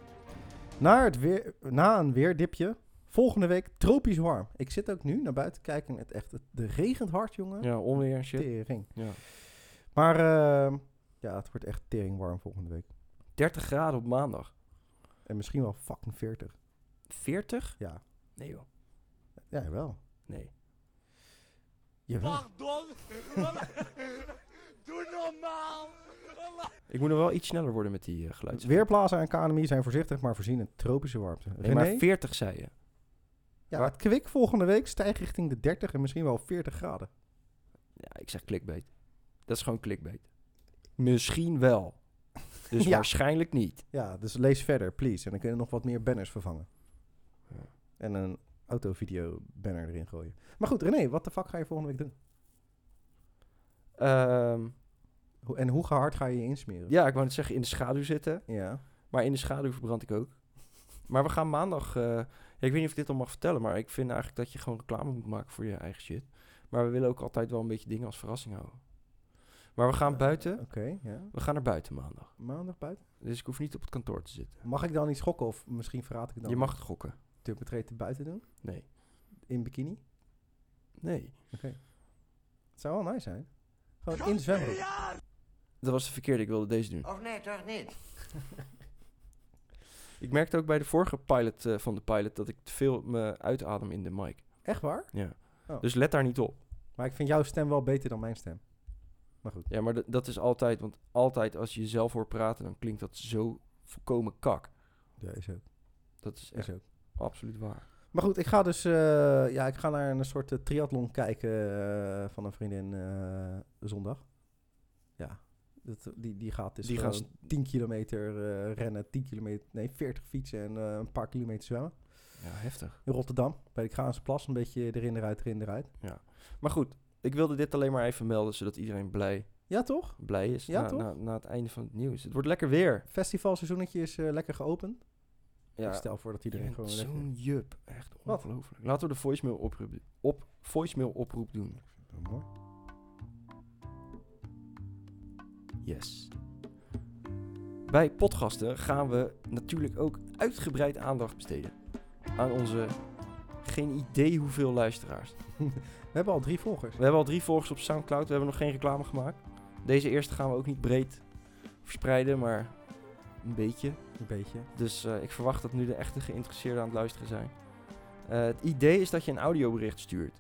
S2: Na, het weer, na een weerdipje, volgende week tropisch warm. Ik zit ook nu naar buiten te kijken en het echt, het de regent hard, jongen.
S1: Ja, onweer en shit.
S2: Tering.
S1: Ja.
S2: Maar ehm, ja, het wordt echt tering warm volgende week.
S1: 30 graden op maandag.
S2: En misschien wel fucking 40.
S1: 40?
S2: Ja,
S1: Nee joh.
S2: ja wel.
S1: Nee.
S2: Jawel.
S3: Pardon. Doe normaal.
S1: Ik moet nog wel iets sneller worden met die eh geluidseffecten.
S2: Weerplaza en KNMI zijn voorzichtig, maar voorzien in tropische warmte.
S1: Nee,
S2: René,
S1: maar 40 zei je.
S2: ja, het kwik volgende week stijgt richting de 30 en misschien wel 40 graden.
S1: Ja, ik zeg clickbait. Dat is gewoon clickbait. Misschien wel. Dus
S2: Ja.
S1: waarschijnlijk niet.
S2: Ja, dus lees verder, please. En dan kunnen we nog wat meer banners vervangen.
S1: Ja.
S2: En een autovideo-banner erin gooien. Maar goed, René, wat de fuck ga je volgende week doen?
S1: Ehm,
S2: Hoe- En hoe hard ga je je insmeren?
S1: ja, ik wou net zeggen in de schaduw zitten.
S2: Ja.
S1: Maar in de schaduw verbrand ik ook. Maar we gaan maandag... eh, ja, ik weet niet of ik dit al mag vertellen, maar ik vind eigenlijk dat je gewoon reclame moet maken voor je eigen shit. Maar we willen ook altijd wel een beetje dingen als verrassing houden. Maar we gaan buiten.
S2: Oké, ja.
S1: We gaan naar buiten maandag.
S2: Maandag buiten.
S1: Dus ik hoef niet op het kantoor te zitten.
S2: Mag ik dan niet schokken of misschien verraad ik het dan?
S1: Je mag het gokken.
S2: natuurlijk betreed te buiten doen.
S1: Nee.
S2: In bikini.
S1: Nee.
S2: Het zou wel nice zijn. Gewoon in de zwembroek.
S1: Dat was de verkeerde. Ik wilde deze doen.
S3: Of nee, toch niet.
S1: Ik merkte ook bij de vorige pilot eh, van de pilot dat ik te veel me uitadem in de mic.
S2: Echt waar?
S1: Ja.
S2: Oh.
S1: Dus let daar niet op.
S2: Maar ik vind jouw stem wel beter dan mijn stem. Maar goed.
S1: Ja, maar d- dat is altijd, want altijd als je jezelf hoort praten, dan klinkt dat zo volkomen kak.
S2: Ja, is ook.
S1: Dat is echt
S2: Is ook.
S1: absoluut waar.
S2: Maar goed, ik ga dus eh, ja, ik ga naar een soort eh, triathlon kijken eh, van een vriendin eh, zondag. Ja, dat, die, die gaat dus
S1: Die gaan
S2: gewoon 10 kilometer eh, rennen, 10 kilometer, nee 40 fietsen en eh, een paar kilometer zwemmen.
S1: Ja, heftig.
S2: In Rotterdam, bij de Kraanse Plas, een beetje erin, eruit, erin, eruit.
S1: Maar goed, ik wilde dit alleen maar even melden, zodat iedereen blij,
S2: Ja toch?
S1: blij is
S2: Ja,
S1: na,
S2: toch?
S1: na, na het einde van het nieuws. Het wordt lekker weer.
S2: Festivalseizoennetje is eh, lekker geopend. Ik
S1: Ja,
S2: stel voor dat
S1: iedereen
S2: iedereen gewoon lekker...
S1: zo'n jup. Echt
S2: Wat?
S1: ongelooflijk. Laten we de voicemail oproep, op, voicemail oproep doen.
S2: Mooi.
S1: Yes. Bij podcasten gaan we natuurlijk ook uitgebreid aandacht besteden aan onze geen idee hoeveel luisteraars.
S2: We hebben al drie volgers.
S1: We hebben al drie volgers op SoundCloud, we hebben nog geen reclame gemaakt. Deze eerste gaan we ook niet breed verspreiden, maar een beetje.
S2: Een beetje.
S1: Dus eh, ik verwacht dat nu de echte geïnteresseerden aan het luisteren zijn. Eh, het idee is dat je een audiobericht stuurt.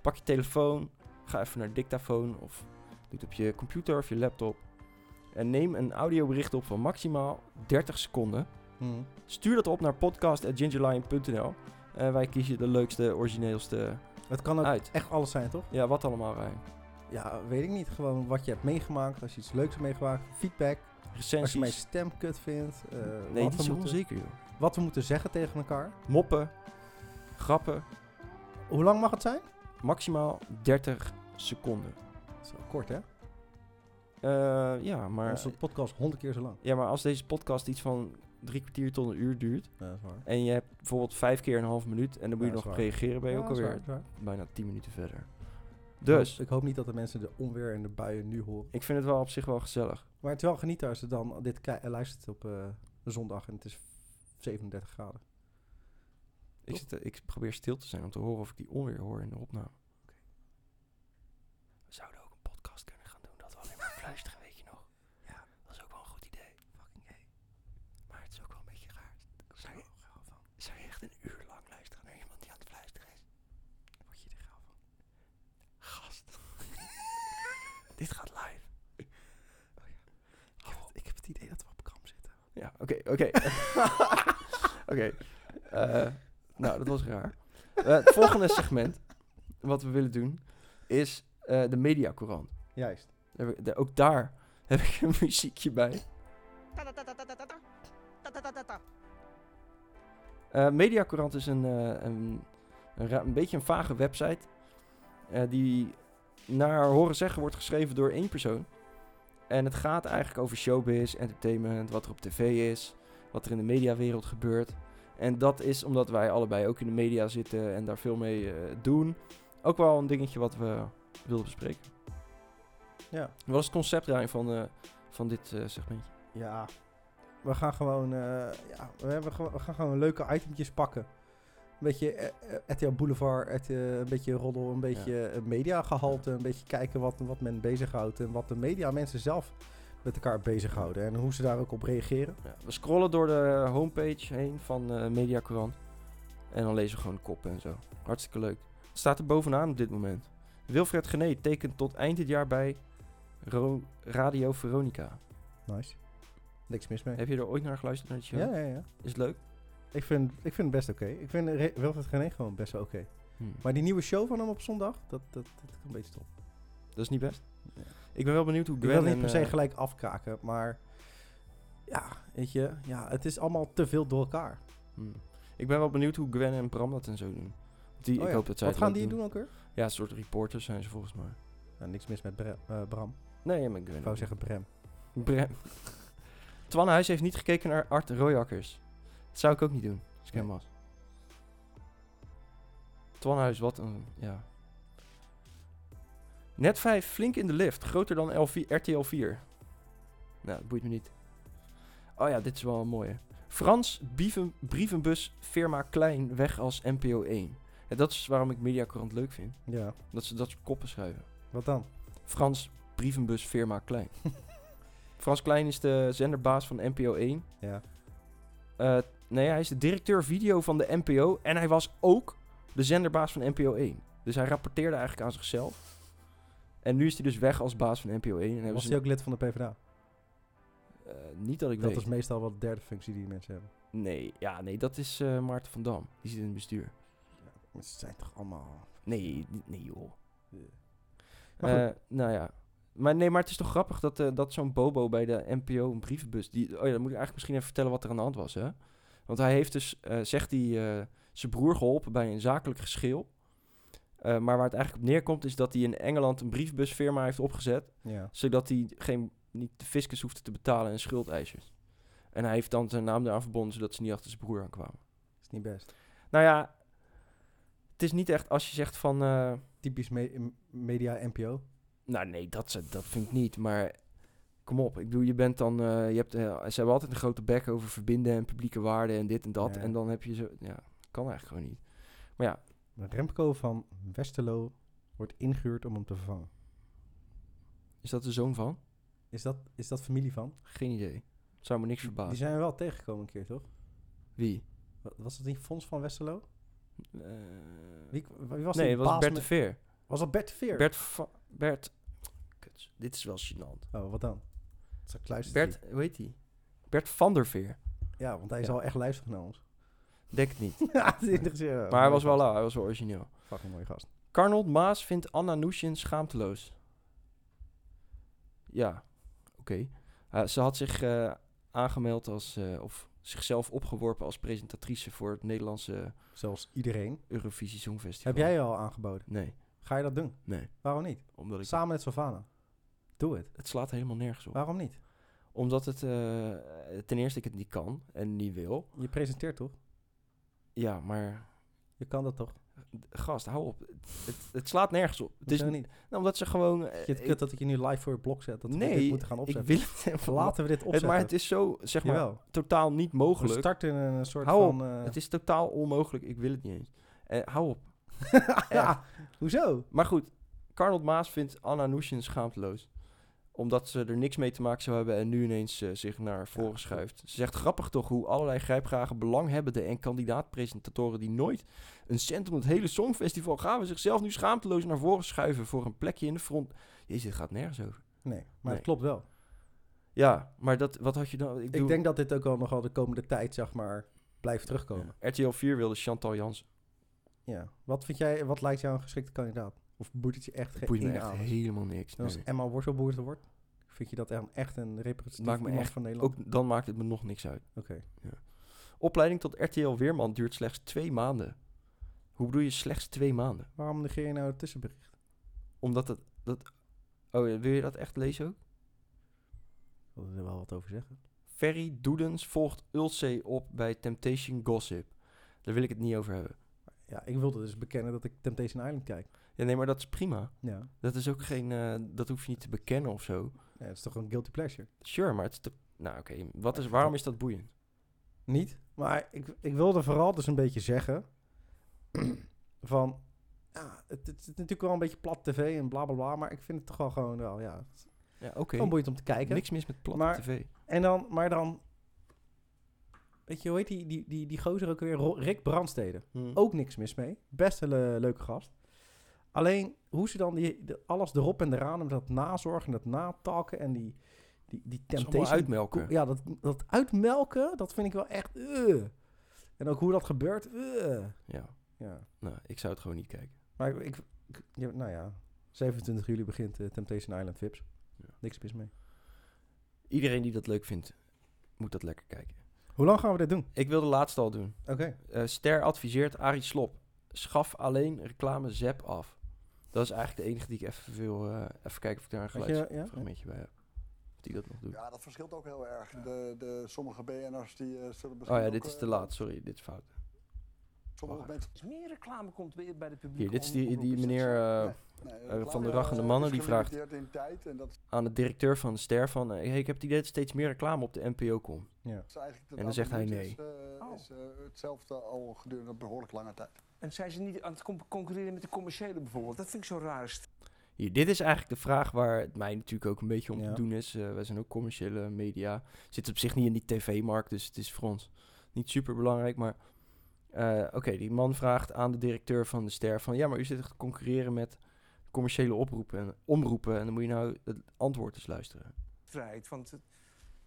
S1: Pak je telefoon, ga even naar dictafoon of doe het op je computer of je laptop. En neem een audiobericht op van maximaal 30 seconden.
S2: Mm.
S1: Stuur dat op naar podcast.gingerlion.nl. En wij kiezen de leukste, origineelste
S2: Het kan ook
S1: uit.
S2: echt alles zijn, toch?
S1: Ja, wat allemaal, Rijn.
S2: Ja, weet ik niet. Gewoon wat je hebt meegemaakt. Als je iets leuks hebt meegemaakt. Feedback. Als je mijn
S1: Recensies.
S2: stem kut vindt. eh,
S1: Nee,
S2: wat,
S1: niet
S2: we
S1: zo
S2: moeten,
S1: onzeker, joh.
S2: wat we moeten zeggen tegen elkaar.
S1: Moppen, grappen,
S2: Hoe lang mag het zijn?
S1: maximaal 30 seconden.
S2: Zo kort, hè?
S1: Eh, ja, maar...
S2: Onze podcast honderd keer zo lang.
S1: Ja, maar als deze podcast iets van drie kwartier tot een uur duurt.
S2: Ja, dat is waar.
S1: en je hebt bijvoorbeeld vijf keer een half minuut. en dan moet je
S2: Ja, dat
S1: nog
S2: is
S1: op
S2: waar.
S1: reageren. ben je
S2: Ja,
S1: ook
S2: dat is
S1: alweer
S2: waar, dat is waar.
S1: bijna tien minuten verder. Dus
S2: Ik hoop niet dat de mensen de onweer en de buien nu horen.
S1: ik vind het wel op zich wel gezellig.
S2: Maar het is wel genieten als je dan dit ki- eh, luistert op eh, een zondag en het is 37 graden.
S1: Ik, zit, eh, ik probeer stil te zijn om te horen of ik die onweer hoor in de opname. We zouden ook een podcast kunnen gaan doen dat we alleen maar fluisteren, weet je nog? Ja. Dat is ook wel een goed idee. Fucking hey. Maar het is ook wel een beetje raar. Zou je, zou je echt een uur lang luisteren naar iemand die aan het fluisteren is? Word je er gauw van? Gast. Dit gaat live. Oh ja. ik, heb het, idee dat we op kam zitten. Ja, oké, oké. oké. Eh, nou, dat was raar. Eh, het volgende segment wat we willen doen is eh, de mediacourant.
S2: Juist.
S1: Daar heb ik- daar- Ook daar heb ik een muziekje bij. Eh mediacourant is een, eh, een, een, ra- een beetje een vage website eh, die naar horen zeggen wordt geschreven door één persoon. En het gaat eigenlijk over showbiz, entertainment, wat er op tv is, wat er in de mediawereld gebeurt. En dat is omdat wij allebei ook in de media zitten en daar veel mee eh, doen. Ook wel een dingetje wat we wilden bespreken.
S2: Ja.
S1: Wat is het concept daarin van, eh, van dit eh, segmentje?
S2: Ja. We gaan gewoon, eh, ja, we, hebben, gewoon- we gaan gewoon leuke itemtjes pakken. Een beetje eh, eh, RTL Boulevard, RTL een beetje roddel, een beetje eh, mediagehalte. Een beetje kijken wat, wat men bezighoudt en wat de media mensen zelf met elkaar bezighouden. En hoe ze daar ook op reageren.
S1: Ja, we scrollen door de homepage heen van eh Media Courant. En dan lezen we gewoon de kop en zo. Hartstikke leuk. Het staat er bovenaan op dit moment. Wilfred Gené tekent tot eind dit jaar bij Ro- Radio Veronica.
S2: Nice. Niks mis mee.
S1: Heb je er ooit naar geluisterd naar die show?
S2: Ja, ja, ja.
S1: Is het leuk?
S2: Ik vind, ik vind het best oké. Ik vind Re- Wilfred Gené gewoon best wel oké.
S1: Hm.
S2: Maar die nieuwe show van hem op zondag, dat, dat, dat is een beetje stom.
S1: Dat is niet best.
S2: Nee.
S1: Ik ben wel benieuwd hoe
S2: Ik
S1: Gwen
S2: wil niet
S1: en,
S2: per se
S1: eh,
S2: gelijk afkraken, maar ja, weet je, ja, het is allemaal te veel door elkaar.
S1: hmm. Ik ben wel benieuwd hoe Gwen en Bram dat en zo doen. Die,
S2: Oh
S1: ik
S2: ja.
S1: hoop dat zij
S2: Wat
S1: het
S2: gaan
S1: leuk
S2: die doen ook weer?
S1: Ja, een soort reporters zijn ze volgens mij.
S2: Nou, niks mis met Bre- eh, Bram.
S1: Nee, maar Gwen.
S2: Ik
S1: ook
S2: wou
S1: niet.
S2: zeggen Brem.
S1: Brem. Twan Huis heeft niet gekeken naar Art Royakkers. Dat zou ik ook niet doen, als ik hem
S2: Nee.
S1: was. Twan Huis, wat een... Ja. Net 5, flink in de lift. Groter dan L4, RTL 4. Nou, dat boeit me niet. Oh ja, dit is wel een mooie. Frans bieven, brievenbus firma Klein weg als NPO 1. En dat is waarom ik Mediacorant leuk vind.
S2: Ja,
S1: Dat ze dat soort koppen schrijven.
S2: wat dan?
S1: Frans brievenbus firma Klein. Frans Klein is de zenderbaas van NPO 1.
S2: Ja.
S1: Eh, nee, hij is de directeur video van de NPO. En hij was ook de zenderbaas van NPO 1. Dus hij rapporteerde eigenlijk aan zichzelf. En nu is hij dus weg als baas van NPO 1. En hebben
S2: Was
S1: ze
S2: hij ook lid van de PvdA?
S1: eh, niet dat ik
S2: Dat
S1: weet.
S2: is meestal wel de derde functie die die mensen hebben.
S1: Nee, ja, nee, dat is eh, Maarten van Dam. Die zit in het bestuur.
S2: Maar ze zijn toch allemaal...
S1: Nee, niet- nee joh.
S2: Maar goed.
S1: Eh, nou ja. Maar nee, maar het is toch grappig dat, eh, dat zo'n Bobo bij de NPO een brievenbus. Die, oh ja, dan moet ik eigenlijk misschien even vertellen wat er aan de hand was, hè? Want hij heeft dus, eh, zegt hij, eh, zijn broer geholpen bij een zakelijk geschil. Eh, maar waar het eigenlijk op neerkomt is dat hij in Engeland een brievenbusfirma heeft opgezet
S2: Ja.
S1: zodat hij geen, niet de fiscus hoefde te betalen en schuldeisers. En hij heeft dan zijn naam eraan verbonden, zodat ze niet achter zijn broer aankwamen.
S2: Is niet best.
S1: Nou ja, het is niet echt als je zegt van... eh,
S2: Typisch me- m- media NPO.
S1: nou nee, dat, ze- dat vind ik niet, maar kom op. Ik bedoel, je bent dan... eh, je hebt, eh, ze hebben altijd een grote bek over verbinden en publieke waarden en dit en dat.
S2: Ja.
S1: En dan heb je zo... Ja, kan eigenlijk gewoon niet. Maar ja,
S2: Remco van Westerlo wordt ingehuurd om hem te vervangen.
S1: is dat de zoon van?
S2: Is dat, is dat familie van?
S1: Geen idee. Zou me niks verbazen.
S2: Die zijn we wel tegengekomen een keer, toch?
S1: Wie?
S2: Wa- Was dat niet Fons van Westerlo?
S1: Eh,
S2: Wie, wie was
S1: nee,
S2: die
S1: het was
S2: baas
S1: Bert de
S2: met-
S1: Veer.
S2: Was dat Bert de Veer?
S1: Bert, Va- Bert, Kuts, dit is wel gênant.
S2: Oh, wat dan? Zal ik luisteren?
S1: Bert, hoe heet die? Bert van der Veer.
S2: Ja, want hij
S1: Ja.
S2: zal echt luisteren naar ons.
S1: Denk het niet.
S2: ja, het interesseert me.
S1: Maar hij
S2: Mooie
S1: was wel
S2: gast.
S1: lauw, hij was wel origineel.
S2: Fucking mooie gast.
S1: Carnold Maas vindt Anna Nushin schaamteloos. Ja, oké. Eh, ze had zich eh, aangemeld als, eh, of zichzelf opgeworpen als presentatrice voor het Nederlandse
S2: Zelfs iedereen.
S1: Eurovisie Songfestival.
S2: Heb jij je al aangeboden?
S1: Nee,
S2: Ga je dat doen?
S1: nee.
S2: Waarom niet?
S1: Omdat ik,
S2: Samen met Savannah. Doe het.
S1: het slaat helemaal nergens op.
S2: Waarom niet?
S1: Omdat het, eh, ten eerste ik het niet kan en niet wil.
S2: Je presenteert toch?
S1: Ja, maar
S2: Je kan dat toch?
S1: Oké, Gast, hou op. Het, het slaat nergens op. Het is
S2: Hoezo
S1: niet. Nou, omdat ze gewoon. eh,
S2: Ik vind het
S1: ik-
S2: kut dat ik je nu live voor je blog zet. Dat we dit
S1: nee,
S2: moeten gaan
S1: ik
S2: opzetten.
S1: wil het even laten.
S2: Laten we dit
S1: Het,
S2: opzetten.
S1: maar het is zo, zeg maar,
S2: Jawel.
S1: totaal niet
S2: We
S1: mogelijk.
S2: starten in een soort
S1: Hou
S2: van... eh,
S1: Het is totaal onmogelijk. Ik wil het niet eens. Eh, hou op.
S2: ja, hoezo?
S1: Maar goed, Carnold Maas vindt Anna Nushin schaamteloos. Omdat ze er niks mee te maken zou hebben en nu ineens eh, zich naar voren schuift. Ze zegt grappig toch hoe allerlei grijpgragen belanghebbenden en kandidaatpresentatoren die nooit een cent om het hele Songfestival gaven zichzelf nu schaamteloos naar voren schuiven voor een plekje in de front. Jezus, dit gaat nergens over.
S2: Nee, maar
S1: Nee.
S2: het klopt wel.
S1: Ja, maar dat, wat had je dan?
S2: Ik,
S1: bedoel,
S2: denk dat dit ook al nogal de komende tijd, zeg maar, blijft terugkomen.
S1: RTL 4 wilde Chantal Jansen.
S2: Ja. Wat vind jij, wat lijkt jou een geschikte kandidaat? Of boeit het je echt geen
S1: Boeit me
S2: ene
S1: echt
S2: aan?
S1: helemaal niks.
S2: En Als
S1: nee.
S2: Emma Wortelboer wordt, vind je dat dan echt een representatief
S1: Maakt me
S2: iemand
S1: echt
S2: van Nederland?
S1: Ook dan maakt het me nog niks uit.
S2: Oké.
S1: Ja. Opleiding tot RTL Weerman duurt slechts twee maanden. Hoe bedoel je slechts twee maanden?
S2: Waarom negeer je nou het tussenbericht?
S1: Omdat dat... dat oh, ja, wil je dat echt lezen ook?
S2: Ik wil er wel wat over zeggen.
S1: Ferry Doedens volgt Ulce op bij Temptation Gossip. Daar wil ik het niet over hebben.
S2: Ja, ik wilde dus bekennen dat ik Temptation Island kijk.
S1: Ja, nee, maar dat is prima.
S2: Ja.
S1: Dat is ook geen... eh, dat hoef je niet te bekennen of zo.
S2: ja het is toch een guilty pleasure?
S1: Sure, maar het is... te- Nou, oké. Wat is, waarom is dat boeiend?
S2: Niet. Maar ik, ik wilde vooral dus een beetje zeggen van, ja, het, het is natuurlijk wel een beetje plat tv en bla bla bla, maar ik vind het toch wel gewoon wel, ja, het is
S1: Ja, oké.
S2: gewoon boeiend om te kijken.
S1: Oh, Niks mis met platte
S2: Maar-
S1: tv.
S2: En dan, maar dan, weet je, hoe heet die, die, die, die gozer ook weer? Ro- Rick Brandstede.
S1: Hm.
S2: Ook niks mis mee. Best een le- leuke gast. Alleen, hoe ze dan die, de- alles erop en eraan hebben, dat nazorg en dat natalken en die, die,
S1: Dat
S2: die
S1: is allemaal
S2: temptation
S1: uitmelken.
S2: ja, dat, dat uitmelken, dat vind ik wel echt. eh. En ook hoe dat gebeurt. eh.
S1: Ja.
S2: Ja.
S1: Nou, ik zou het gewoon niet kijken.
S2: Maar ik, ik, ik- ja, nou ja, 27 juli begint eh, Temptation Island Vips.
S1: Ja.
S2: Niks mis mee.
S1: Iedereen die dat leuk vindt, moet dat lekker kijken.
S2: Hoe lang gaan we dit doen?
S1: Ik wil de laatste al doen.
S2: Oké.
S1: Eh, Ster adviseert Arie Slop. Schaf alleen reclame zep af. Dat is eigenlijk de enige die ik even wil... eh, even kijken of ik daar een
S2: Had je- ja?
S1: geluidsfragmentje bij heb. Of die dat nog doet.
S7: Ja, dat verschilt ook heel erg. De, de, sommige BN'ers die eh, zullen
S1: oh
S7: misschien
S1: ja,
S7: ook,
S1: dit is
S7: eh,
S1: te laat. Sorry, dit is fout.
S7: Sommige
S1: Wacht.
S7: mensen...
S8: meer reclame komt bij bij de publieke
S1: Hier, dit is die,
S8: omroep,
S1: die
S8: is dat
S1: meneer
S8: zo?
S1: eh,
S7: Nee,
S1: de
S7: reclame,
S1: Rachende
S7: eh,
S1: Mannen,
S7: is
S1: die vraagt-
S7: gelimiteerd in tijd en dat
S1: aan de directeur van Ster van... eh, hey, ik heb het idee dat steeds meer reclame op de NPO komt.
S7: is eigenlijk... dat
S1: En dan zegt hij
S7: absoluut Is, eh,
S8: Oh.
S7: is eh, hetzelfde al gedurende een behoorlijk lange tijd.
S8: En zijn ze niet aan het com- concurreren met de commerciële bijvoorbeeld? Dat vind ik zo raar. St-
S1: Hier, dit is eigenlijk de vraag waar het mij natuurlijk ook een beetje om
S2: Ja.
S1: te doen is. Eh, wij zijn ook commerciële media. Zit op zich niet in die tv-markt, dus het is voor ons niet super belangrijk. Maar eh, oké, die man vraagt aan de directeur van de ster van... Ja, maar u zit echt te concurreren met commerciële oproepen en omroepen. En dan moet je nou het antwoord eens luisteren.
S8: Vrijheid, want het-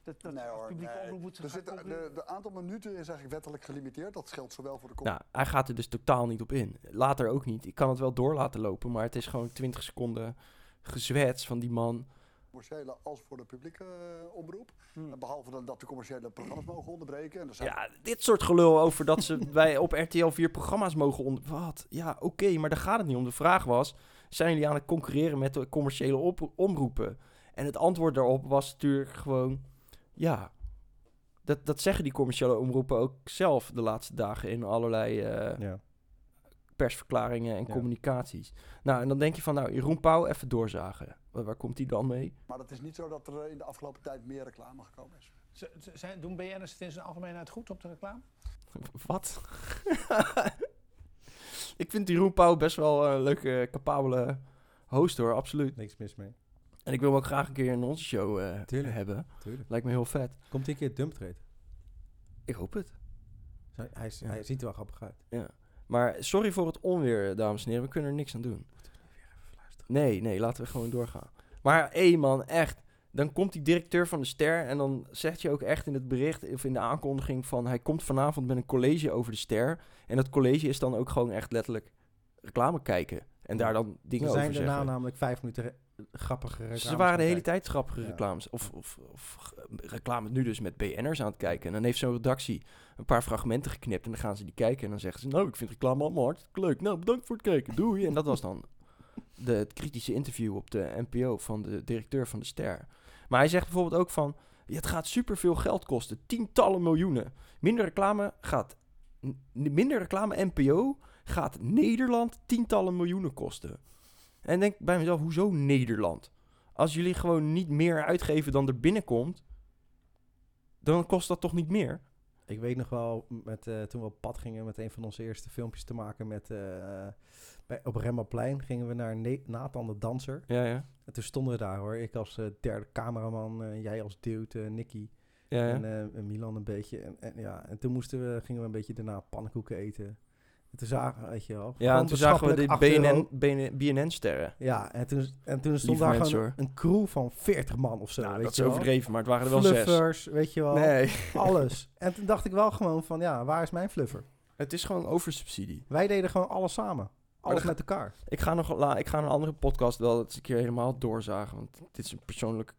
S8: dat, dat
S7: nee
S8: als
S7: hoor,
S8: publieke
S7: nee.
S8: omroep moet
S7: Er
S8: gaan
S7: zit,
S8: concurreren.
S7: de, de aantal minuten is eigenlijk wettelijk gelimiteerd. Dat geldt zowel voor de... com-
S1: Nou, hij gaat er dus totaal niet op in. Later ook niet. Ik kan het wel door laten lopen, maar het is gewoon 20 seconden gezwets van die man.
S7: commerciële als voor de publieke eh, omroep.
S8: Hmm.
S7: En Behalve dan dat de commerciële programma's mogen onderbreken. En er zijn
S1: Ja, dit soort gelul over dat ze wij op RTL 4 programma's mogen onder... Wat? Ja, oké, maar daar gaat het niet om. De vraag was, zijn jullie aan het concurreren met de commerciële op- omroepen? En het antwoord daarop was natuurlijk gewoon, ja. Dat, dat zeggen die commerciële omroepen ook zelf de laatste dagen in allerlei eh,
S2: Ja.
S1: persverklaringen en
S2: Ja.
S1: communicaties. Nou, en dan denk je van, nou, Jeroen Pauw even doorzagen. Waar, waar komt hij dan mee?
S7: Maar het is niet zo dat er eh, in de afgelopen tijd meer reclame gekomen is.
S9: Z- z- Zijn, doen BN'ers het in zijn algemeenheid goed op de reclame?
S1: Wat? ik vind Jeroen Pauw best wel een leuke, capabele host hoor, absoluut.
S2: Niks mis mee.
S1: En ik wil hem ook graag een keer in onze show eh,
S2: Tuurlijk.
S1: hebben.
S2: Tuurlijk.
S1: Lijkt me heel vet.
S2: Komt hij een keer dump trade?
S1: Ik hoop het.
S2: Hij, hij, is-
S1: Ja.
S2: hij ziet er wel grappig uit.
S1: Maar sorry voor het onweer, dames en heren. We kunnen er niks aan doen. Nee, nee, laten we gewoon doorgaan. Maar hé man, echt. Dan komt die directeur van de ster en dan zegt je ook echt in het bericht of in de aankondiging van hij komt vanavond met een college over de ster. En dat college is dan ook gewoon echt letterlijk reclame kijken. En daar dan dingen
S2: Ze zijn
S1: over
S2: daarna
S1: zeggen.
S2: namelijk vijf minuten re- grappige reclames
S1: Ze waren de hele
S2: gaan kijken.
S1: tijd grappige
S2: Ja.
S1: reclames. Of, of, of ge- reclame nu dus met BN'ers aan het kijken. En dan heeft zo'n redactie een paar fragmenten geknipt. En dan gaan ze die kijken. En dan zeggen ze, nou, ik vind reclame allemaal hartstikke leuk. Nou, bedankt voor het kijken. Doei. En dat was dan de, het kritische interview op de NPO van de directeur van de Ster. Maar hij zegt bijvoorbeeld ook van... "Ja, het gaat superveel geld kosten. Tientallen miljoenen. Minder reclame gaat... n- Minder reclame NPO gaat Nederland tientallen miljoenen kosten. En denk bij mezelf, hoezo Nederland? Als jullie gewoon niet meer uitgeven dan er binnenkomt, dan kost dat toch niet meer?
S2: Ik weet nog wel, met, eh, toen we op pad gingen met een van onze eerste filmpjes te maken met, eh, bij, op Rembrandtplein, gingen we naar Ne- Nathan de Danser.
S1: Ja, ja.
S2: En toen stonden we daar hoor, ik als eh, derde cameraman, eh, jij als dude, eh, Nicky
S1: ja, ja.
S2: en eh, en Milan een beetje. En, en, ja, en toen moesten we, gingen we een beetje daarna pannenkoeken eten. En toen zagen, weet je wel,
S1: Ja,
S2: gewoon
S1: en toen zagen we de
S2: beschappelijk 8 euro.
S1: BNN, BNN, BNN-sterren.
S2: Ja, en toen, en toen stond
S1: Lieve
S2: daar
S1: mensen,
S2: gewoon een crew van 40 man of zo.
S1: Nou,
S2: weet
S1: dat is
S2: je wel.
S1: overdreven, maar het waren er wel zes.
S2: Fluffers, weet je wel.
S1: Nee,
S2: Alles. En toen dacht ik wel gewoon van, ja, waar is mijn fluffer?
S1: het is gewoon oversubsidie.
S2: Wij deden gewoon alles samen. Alles
S1: dat
S2: met elkaar.
S1: Ik ga nog la, ik ga een andere podcast wel eens een keer helemaal doorzagen. Want dit is een persoonlijk.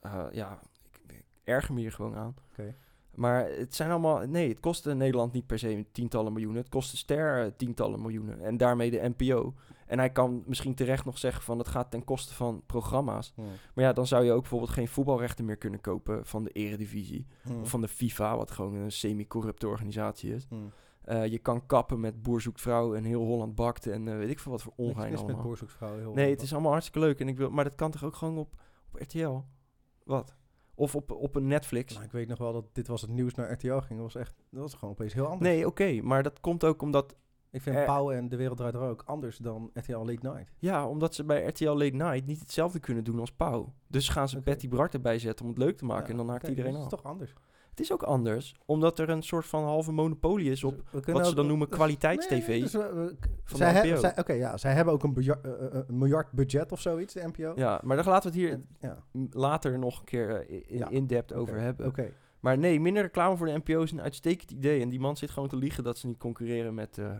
S1: eh, ja, ik, ik erger me hier gewoon aan.
S2: Oké.
S1: Maar het zijn allemaal. Nee, het kostte Nederland niet per se tientallen miljoenen. Het kostte Ster eh, tientallen miljoenen. En daarmee de NPO. En hij kan misschien terecht nog zeggen van het gaat ten koste van programma's.
S2: Hm.
S1: Maar ja, dan zou je ook bijvoorbeeld geen voetbalrechten meer kunnen kopen van de Eredivisie. Hm.
S2: Mm.
S1: Of van de FIFA, wat gewoon een semi-corrupte organisatie is.
S2: Hmm.
S1: Eh, je kan kappen met Boer zoekt vrouw en heel Holland bakt en eh, weet ik veel wat voor
S2: Niks
S1: ongein
S2: mis met
S1: allemaal.
S2: boerzoeksvrouw. Heel
S1: Nee, het is allemaal hartstikke leuk. En ik wil, maar dat kan toch ook gewoon op, op RTL? Wat? Of op, op een Netflix?
S2: Maar Nou, ik weet nog wel dat dit was het nieuws naar RTL ging. Dat was echt, dat was gewoon opeens heel anders.
S1: Nee, oké. maar dat komt ook omdat...
S2: Ik vind
S1: Eh.
S2: Pauw en De Wereld Draait Door ook anders dan RTL Late Night.
S1: Ja, omdat ze bij RTL Late Night niet hetzelfde kunnen doen als Pauw. Dus gaan ze
S2: Oké.
S1: Betty Bart erbij zetten om het leuk te maken.
S2: Ja,
S1: en dan haakt
S2: oké,
S1: iedereen
S2: dus
S1: af.
S2: Het is toch anders.
S1: Het is ook anders, omdat er een soort van halve monopolie is op...
S2: Dus we kunnen
S1: Wat ze
S2: ook-
S1: dan noemen
S2: dus-
S1: kwaliteits-tv
S2: nee, dus we- we-
S1: Van
S2: zij
S1: de
S2: hebben-
S1: NPO.
S2: zij- Oké, ja, zij hebben ook een biljar- eh, eh, eh, miljard budget of zoiets, de NPO.
S1: Ja, maar daar laten we het hier
S2: En- ja.
S1: later nog een keer eh, in,
S2: Ja,
S1: in-depth over hebben.
S2: Oké.
S1: Maar nee, minder reclame voor de NPO is een uitstekend idee. En die man zit gewoon te liegen dat ze niet concurreren met, eh,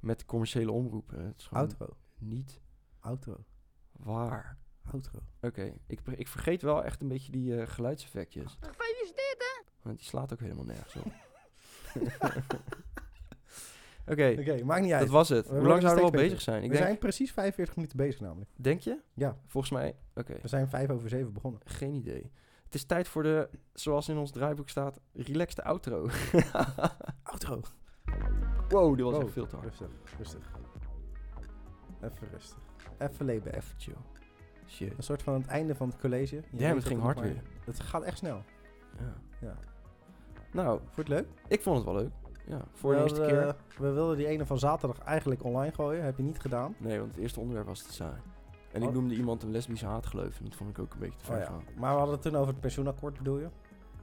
S1: met de commerciële omroep. Eh, Het is gewoon
S2: Outro.
S1: niet
S2: Outro.
S1: waar.
S2: Outro.
S1: Oké, ik, pre- ik vergeet wel echt een beetje die eh, geluidseffectjes.
S10: Gefeliciteerd, hè?
S1: Want die slaat ook helemaal nergens op. Oké,
S2: Oké, maakt niet uit.
S1: dat was het.
S2: we
S1: Hoe lang zouden we
S2: worden steeds
S1: al bezig
S2: beter.
S1: zijn? Ik
S2: we
S1: denk,
S2: zijn precies 45 minuten bezig namelijk.
S1: denk je?
S2: Ja.
S1: Volgens mij, oké,
S2: We zijn 5 over 7 begonnen.
S1: geen idee. Het is tijd voor de, zoals in ons draaiboek staat, relaxed outro.
S2: Outro.
S1: wow, dit was
S2: Wow.
S1: echt veel te hard.
S2: Rustig, rustig. Even rustig. Even leven, even chill.
S1: Shit.
S2: Een soort van het einde van het college. Je
S1: Damn,
S2: weet
S1: het
S2: dat
S1: ging
S2: nog
S1: hard
S2: maar-
S1: weer.
S2: Het gaat echt snel.
S1: Ja.
S2: Ja.
S1: Nou,
S2: Vond je het leuk?
S1: ik vond het wel leuk. Ja, voor
S2: We
S1: de eerste
S2: hadden,
S1: keer.
S2: eh, we wilden die ene van zaterdag eigenlijk online gooien. Heb je niet gedaan.
S1: Nee, want het eerste onderwerp was te saai. En ik
S2: Oh.
S1: noemde iemand een lesbische haatgeloof. En dat vond ik ook een beetje te ver
S2: Oh ja.
S1: gaan.
S2: Maar we hadden het toen over het pensioenakkoord, bedoel je?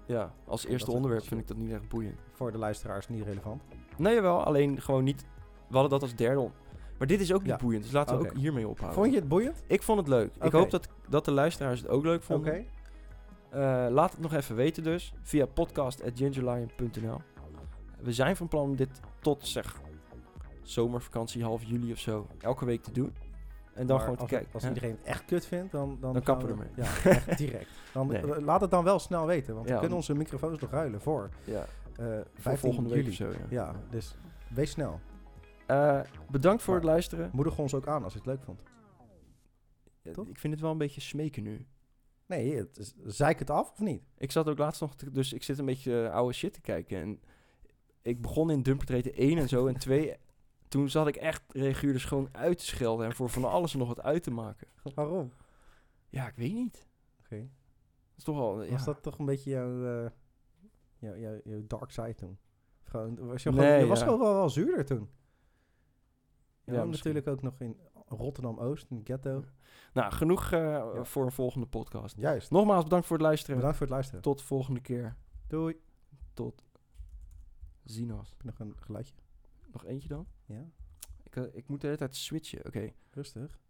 S1: Ja, als eerste
S2: dat-
S1: onderwerp vind ik dat niet echt boeiend.
S2: Voor de luisteraars niet relevant.
S1: Nee, wel, alleen gewoon niet. We hadden dat als derde. on- Maar dit is ook niet
S2: Ja.
S1: boeiend, dus laten we
S2: Oké.
S1: ook hiermee ophouden.
S2: Vond je het boeiend?
S1: Ik vond het leuk. Ik
S2: Oké.
S1: hoop dat, dat de luisteraars het ook leuk
S2: Oké.
S1: vonden. Eh, laat het nog even weten dus. Via podcast.gingerlion.nl We zijn van plan om dit tot, zeg, zomervakantie, half juli of zo, elke week te doen. En dan
S2: Maar
S1: gewoon te
S2: als,
S1: kijken.
S2: Als
S1: hè?
S2: iedereen het echt kut vindt, dan... Dan, gaan
S1: kappen we
S2: we-
S1: ermee.
S2: Ja, echt direct. Dan,
S1: Nee.
S2: eh, Laat het dan wel snel weten, want
S1: Ja,
S2: we kunnen
S1: want-
S2: onze microfoons nog ruilen voor
S1: Ja,
S2: eh
S1: voor
S2: 15
S1: volgende week
S2: juli.
S1: of zo, ja.
S2: Ja, dus wees snel.
S1: Eh, bedankt voor het luisteren.
S2: Moedig ons ook aan als je het leuk vond.
S1: Ja,
S2: Toch?
S1: Ik vind het wel een beetje smeken nu.
S2: Nee, het is, zeik het af of niet?
S1: Ik zat ook laatst nog, te- dus ik zit een beetje eh, oude shit te kijken. En ik begon in Dumpertreten 1 en zo en 2. Toen zat ik echt regulier dus gewoon uit te schelden en voor van alles en nog wat uit te maken.
S2: Waarom?
S1: Ja, ik weet niet.
S2: Oké.
S1: Dat is toch al. Ja.
S2: Was dat toch een beetje jouw, eh, jouw, jouw, jouw dark side toen? Gewoon, was je,
S1: Nee,
S2: gewoon, je was
S1: ja.
S2: gewoon wel, wel zuurder toen. Je
S1: Ja,
S2: woonde
S1: misschien.
S2: natuurlijk ook nog in Rotterdam-Oost, in de ghetto.
S1: Nou, genoeg eh, voor een volgende podcast.
S2: Juist.
S1: Nogmaals bedankt voor het luisteren.
S2: Bedankt voor het luisteren.
S1: Tot de volgende keer.
S2: Doei. Heb
S1: Tot ziens.
S2: je nog een geluidje?
S1: Nog eentje dan?
S2: Ja,
S1: Ik, eh, ik moet de hele tijd switchen. Oké.
S2: rustig.